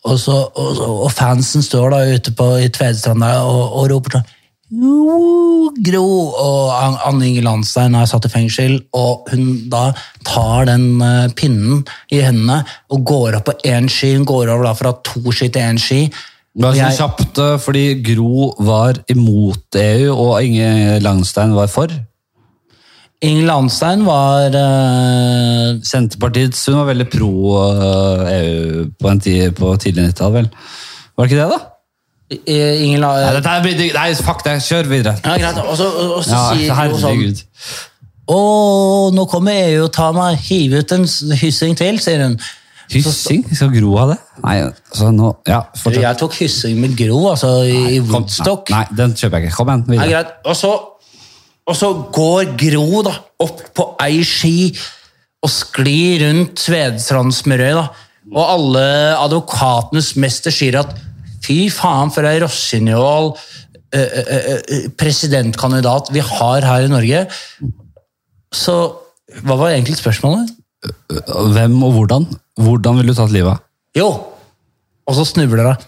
S2: Og, så, og, så- og fansen står da ute på, i Tvedestrand der og, og roper sånn «Jo, Gro! Og An- Anne Inge Landstein er satt i fengsel, og hun da tar den eh, pinnen i hendene og går opp på én ski. Hun går over da fra to ski til én ski.
S1: Bare sånn
S2: Og jeg-
S1: kjapt, eh, fordi Gro var imot EU, og Inge Langstein var for.
S2: Inge Landstein var eh,
S1: Senterpartiets Hun var veldig pro eh, EU på, en tid, på tidlig 90-tall, vel? Var det ikke det, da?
S2: I- Inge La...
S1: Nei, dette her blir digg. Nei, fuck det. Kjør videre.
S2: Ja, greit. Og så, og, og så
S1: Ja,
S2: sier hun sånn
S1: herregud.
S2: Å, nå kommer EU og tar meg. Hiv ut en s- hyssing til, sier hun.
S1: Hyssing? Skal Gro ha det? Nei, altså nå Ja, fortsett.
S2: Jeg tok hyssing med Gro, altså, i, i
S1: Kom-
S2: Woodstock.
S1: Nei, den kjøper jeg ikke. Kom igjen.
S2: Ja,
S1: Videre.
S2: greit. Og så, og så går Gro da, opp på ei ski og sklir rundt Tvedestrandsmørøy. da. Og alle advokatenes mester sier at fy faen for ei rossinjol eh, eh, eh, presidentkandidat vi har her i Norge. Så hva var egentlig spørsmålet?
S1: Hvem og hvordan? Hvordan vil du tatt livet av?
S2: Jo! Og så snubler hun.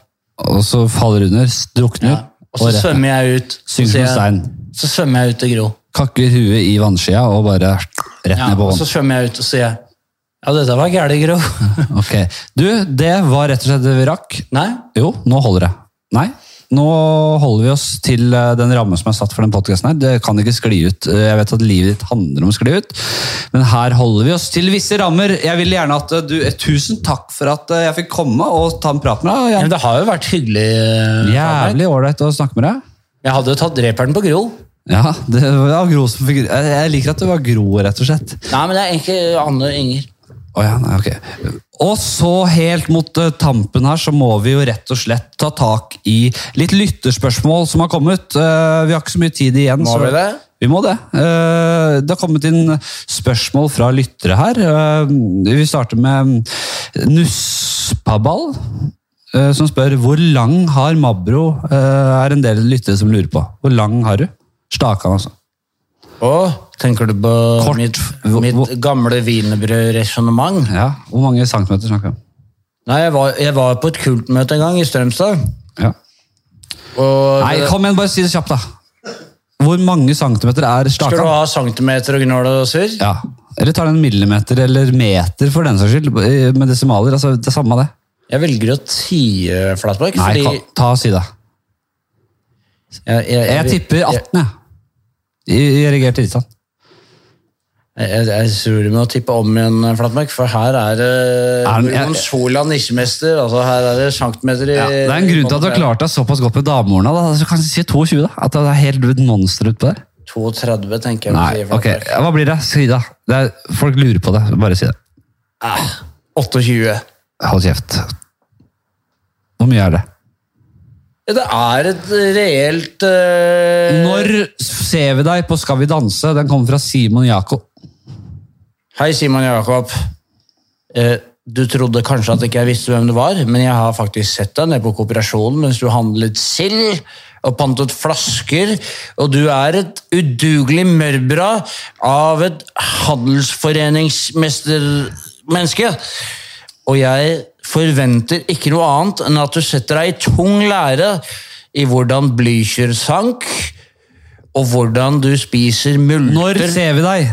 S1: Og så faller du under, drukner,
S2: Og
S1: og
S2: så
S1: rett ned.
S2: svømmer jeg ut.
S1: Synker
S2: Så,
S1: som
S2: sier
S1: stein.
S2: jeg, så svømmer jeg ut til Gro.
S1: Kakker huet i vannskia og bare rett
S2: Ja,
S1: ned på
S2: og så
S1: vann.
S2: svømmer jeg ut og sier ja, dette var gæli, Gro. [laughs]
S1: [laughs] Ok. Du, det var rett og slett det vi rakk.
S2: Nei,
S1: Jo, nå holder det. Nei, nå holder vi oss til eh, den rammen som er satt for den podcasten her. Det kan ikke skli ut. Eh, Jeg vet at livet ditt handler om å skli ut, men her holder vi oss til visse rammer. Jeg vil gjerne at eh, du, eh, tusen takk for at eh, jeg fikk komme og ta en prat med deg.
S2: Ja, men
S1: Jan.
S2: det har jo vært hyggelig. eh, Albert.
S1: Jævlig ålreit å snakke med deg.
S2: Jeg hadde jo tatt dreperen på Grol.
S1: Ja, det var Gro som fikk... Jeg jeg liker at det var Gro, rett og slett.
S2: Nei, men det er egentlig Anne Inger.
S1: Å ja, nei, ok. Og så helt mot eh, tampen her, så må vi jo rett og slett ta tak i litt lytterspørsmål som har kommet. Eh, vi har ikke så mye tid igjen.
S2: Må
S1: så
S2: vi det?
S1: Vi må det. Eh, det har kommet inn spørsmål fra lyttere her. Eh, vi starter med Nuspaball, eh, som spør hvor lang har Mabro? Eh, er en del lyttere som lurer på. Hvor lang har du? Stakan, altså.
S2: Å, tenker du på
S1: Kort.
S2: mitt,
S1: Hvor-
S2: mitt gamle wienerbrødresonnement?
S1: Ja, Hvor mange centimeter snakker vi om?
S2: Nei, jeg var, jeg var på et kultmøte en gang i Strømstad.
S1: Ja.
S2: Og
S1: Nei,
S2: det-
S1: kom igjen, bare si det kjapt, da. Hvor mange centimeter er
S2: skal du
S1: stakan?
S2: ha centimeter og gnål og surr?
S1: Ja. Eller tar den millimeter eller meter for den saks skyld, eh, med desimaler? Altså, det er samme det.
S2: Jeg velger å tie flatmark,
S1: Nei,
S2: fordi
S1: ka- ta og si det.
S2: jeg, jeg,
S1: Jeg tipper 18, jeg. I i erigert tilstand.
S2: Jeg, jeg tror du må tippe om igjen, eh, Flatmark, for her er det
S1: Er den- jeg-
S2: Gordon Sola nisjemester. Altså her er det centimeter i
S1: Ja, det er en grunn til at du har klart deg såpass godt med damehorna. da. Så kan du si 22, da. At det er helt et monster utpå der.
S2: 32, tenker jeg. vi
S1: Nei,
S2: sier,
S1: ok.
S2: Flatmark.
S1: Ja, Hva blir det? Si det. det er, folk lurer på det. Bare si det.
S2: Ah, 28.
S1: Hold kjeft. Hvor mye er det?
S2: Ja, det er et reelt eh,
S1: Når ser vi deg på Skal vi danse? Den kommer fra Simon Jakob.
S2: Hei, Simon Jakob. Eh, du trodde kanskje at ikke jeg visste hvem du var, men jeg har faktisk sett deg nede på kooperasjonen mens du handlet sild og pantet flasker, og du er et udugelig mørbra av et handelsforeningsmestermenneske. Og jeg forventer ikke noe annet enn at du setter deg i tung lære i hvordan Blücher sank, og hvordan du spiser
S1: Når
S2: multer
S1: ser vi deg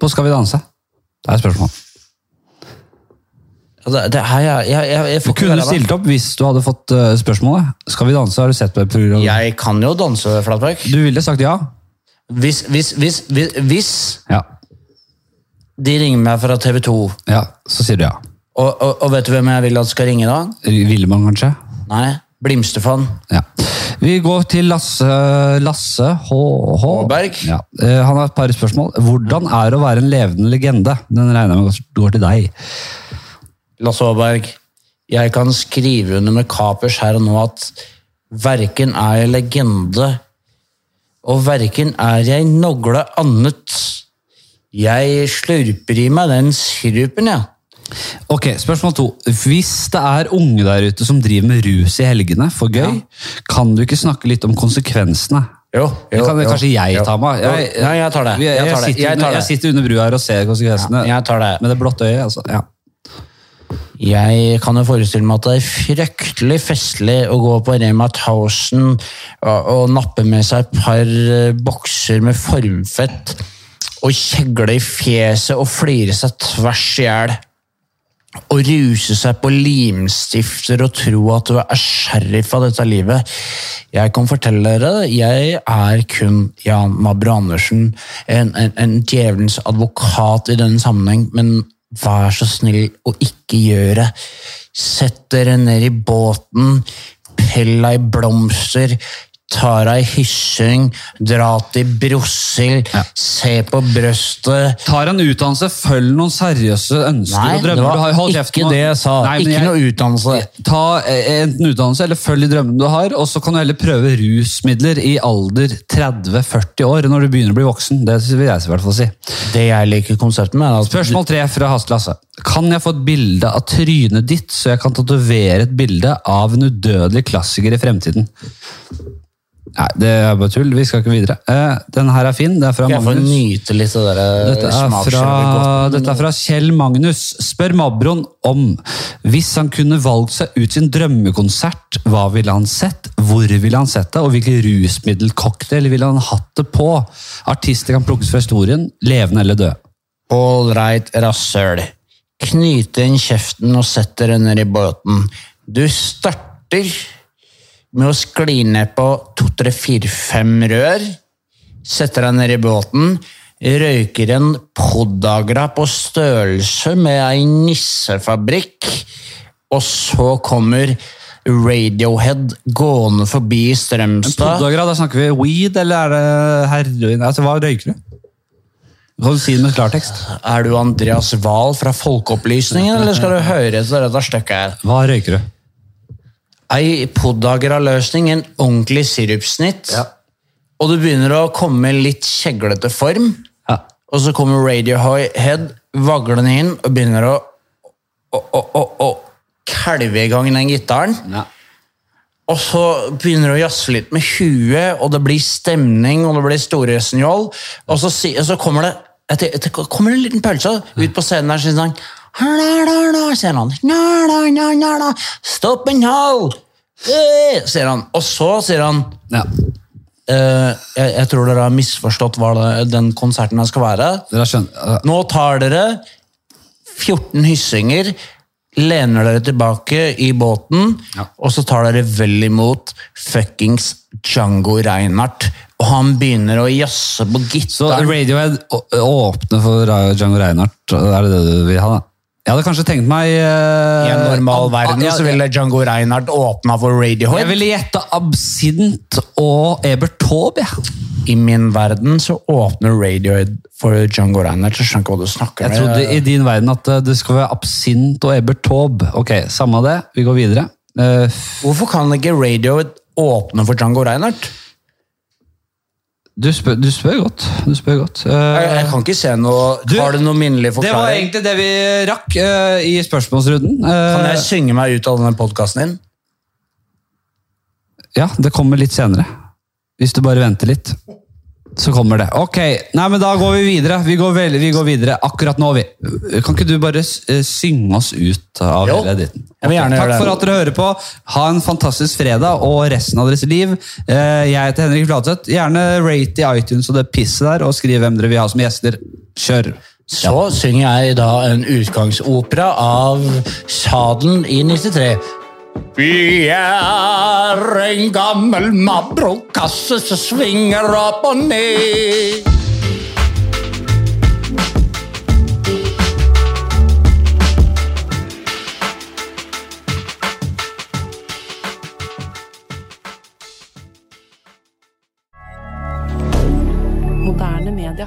S1: på Skal vi danse? Det er et spørsmål.
S2: Ja, Altså, Det, det her, jeg, jeg, jeg, jeg får
S1: Du
S2: ikke
S1: kunne
S2: være med.
S1: stilt opp hvis du hadde fått eh, spørsmålet. Skal vi danse? Har du sett på det programmet?
S2: Jeg kan jo danse flatback.
S1: Du ville sagt ja?
S2: Hvis, hvis, hvis, hvis, hvis
S1: Ja.
S2: de ringer meg fra TV 2, og,
S1: ja. Så sier du ja.
S2: og, og vet du hvem jeg vil at skal ringe da?
S1: Ville man kanskje?
S2: Nei, Blimstefan.
S1: Ja. Vi går til Lasse, Lasse HH.
S2: Håberg.
S1: Ja. Eh, Han har et par spørsmål. Hvordan er det å være en levende legende? Den regner jeg med går til deg.
S2: Lasse Aaberg, jeg kan skrive under med kapers her og nå at verken er jeg legende, og verken er jeg nogle annet. Jeg slurper i meg den sirupen, jeg. Ja.
S1: Ok, spørsmål to. Hvis det er unge der ute som driver med rus i helgene for gøy, kan du ikke snakke litt om konsekvensene?
S2: Jo,
S1: Det
S2: jo,
S1: kan
S2: jo,
S1: kanskje jeg
S2: jo.
S1: ta meg av.
S2: Jo, nei, jeg tar det.
S1: Jeg,
S2: Jeg tar det.
S1: sitter,
S2: Jeg
S1: under-
S2: tar det.
S1: jeg sitter under brua her og ser konsekvensene.
S2: Jeg tar det.
S1: Med det blotte øyet, altså. Ja.
S2: Jeg kan jo forestille meg at det er fryktelig festlig å gå på Rema 1000 og, og nappe med seg et par eh, bokser med formfett og kjegle i fjeset og flire seg tvers i hjel. Og ruse seg på limstifter og tro at du er sheriff av dette livet. Jeg kan fortelle dere, jeg er kun Jan Mabro Andersen, en, en, en djevelens advokat i denne sammenheng, men vær så snill å ikke gjøre. Sett dere ned i båten, pell ei blomster, tar ei hyssing, dra til Brussel, se på brøstet,
S1: Tar en utdannelse, følg noen seriøse ønsker
S2: Nei,
S1: og drømmer.
S2: det var
S1: du har, hold
S2: ikke
S1: kjeften nå.
S2: det jeg sa.
S1: Nei, men
S2: ikke
S1: jeg-
S2: noe utdannelse.
S1: Ta eh, enten utdannelse eller følg de drømmene du har, og så kan du heller prøve rusmidler i alder 30-40 år, når du begynner å bli voksen. Det vil jeg i hvert fall si.
S2: Det jeg liker konseptet med, altså, er at
S1: Spørsmål tre fra Hasle Hasse. Kan jeg få et bilde av trynet ditt, så jeg kan tatovere et bilde av en udødelig klassiker i fremtiden? Nei, det er bare tull. Vi skal ikke videre. Eh, den her er fin. Det er fra
S2: Skal jeg få
S1: Magnus.
S2: nyte litt av eh, dere
S1: Dette er, fra, dette er fra Kjell Magnus. Spør Mabron om hvis han kunne valgt seg ut sin drømmekonsert, hva ville han sett, hvor ville han sett det, og hvilken rusmiddelcocktail ville han hatt det på? Artister kan plukkes fra historien, levende eller døde.
S2: All right, rasshøl. Knyte inn kjeften og sett dere ned i båten. Du starter med å skli ned på to, tre, fire, fem rør, setter deg ned i båten, røyker en poddagra på størrelse med ei nissefabrikk, og så kommer Radiohead gående forbi i Strømstad.
S1: Poddagra, da snakker vi weed, eller er det heroin? Altså, hva røyker du? Kan du si det med klartekst?
S2: Er du Andreas Wahl fra Folkeopplysningen, eller skal du høre etter dette stykket her?
S1: Hva røyker du?
S2: Ei podagra-løsning, en ordentlig sirupsnitt, og du begynner å komme i litt kjeglete form,
S1: Ja.
S2: og så kommer Radiohead vaglende inn og begynner å, å, å, å, å kalve i gang den gitaren.
S1: Ja.
S2: Og så begynner du å jazze litt med huet, og det blir stemning, og det blir store snjål. Og så, si, og så kommer det etter, etter, kommer det en liten pølse ut på scenen der, så sier han «Hla, la, la», sier han. «Hla, la, la, la, la. Stop and hold! Eh, Sier han. Og så sier han
S1: ja.
S2: eh, jeg, jeg tror dere har misforstått hva det, den konserten her skal være.
S1: Dere har skjønt. eh,
S2: Nå tar dere 14 hyssinger, lener dere tilbake i båten,
S1: Ja.
S2: og så tar dere vel imot fuckings Django Reinhardt. Og han begynner å jazze på
S1: Så
S2: gitaren.
S1: Radiohead å- åpne for Ra- Django Reinhardt, er det det du vil ha, da? Jeg hadde kanskje tenkt meg eh,
S2: I en
S1: ab-
S2: normal verden
S1: ja,
S2: så ville Django Reinhardt åpna for
S1: Jeg
S2: Radiohead.
S1: ville gjette Absint og Ebert Taube. Jeg.
S2: I min verden så åpner Radiohead for Django Reinhardt. Jeg skjønner ikke hva du snakker
S1: jeg trodde i din verden at eh, det skulle være Absint og Ebert Taube. Ok, samme det. Vi går videre. Eh, f-
S2: Hvorfor kan ikke Radiohead åpne for Django Reinhardt?
S1: Du spør, du spør godt. Du spør godt. Eh,
S2: Jeg, jeg kan ikke se noe
S1: Du,
S2: Har du noen minnelig
S1: det var
S2: forklaring?
S1: egentlig det vi rakk eh, i spørsmålsrunden. Eh,
S2: Kan jeg synge meg ut av denne podkasten din?
S1: Ja, det kommer litt senere. Hvis du bare venter litt, så kommer det. Ok, nei, men da går vi videre. Vi går, vel, vi går videre akkurat nå. Vi. Kan ikke du bare s- eh, synge oss ut av
S2: Jo,
S1: hele editen?
S2: jeg vil gjerne
S1: Ok,
S2: gjøre
S1: Takk
S2: det.
S1: for at dere hører på. Ha en fantastisk fredag og resten av deres liv. Eh, Jeg heter Henrik Fladseth. Gjerne rate i iTunes og det pisset der, og skriv hvem dere vil ha som gjester. Kjør!
S2: Så synger jeg da en utgangsopera av Sadelen i 93. Vi er en gammel mabrokasse som svinger opp og ned.
S5: Moderne media.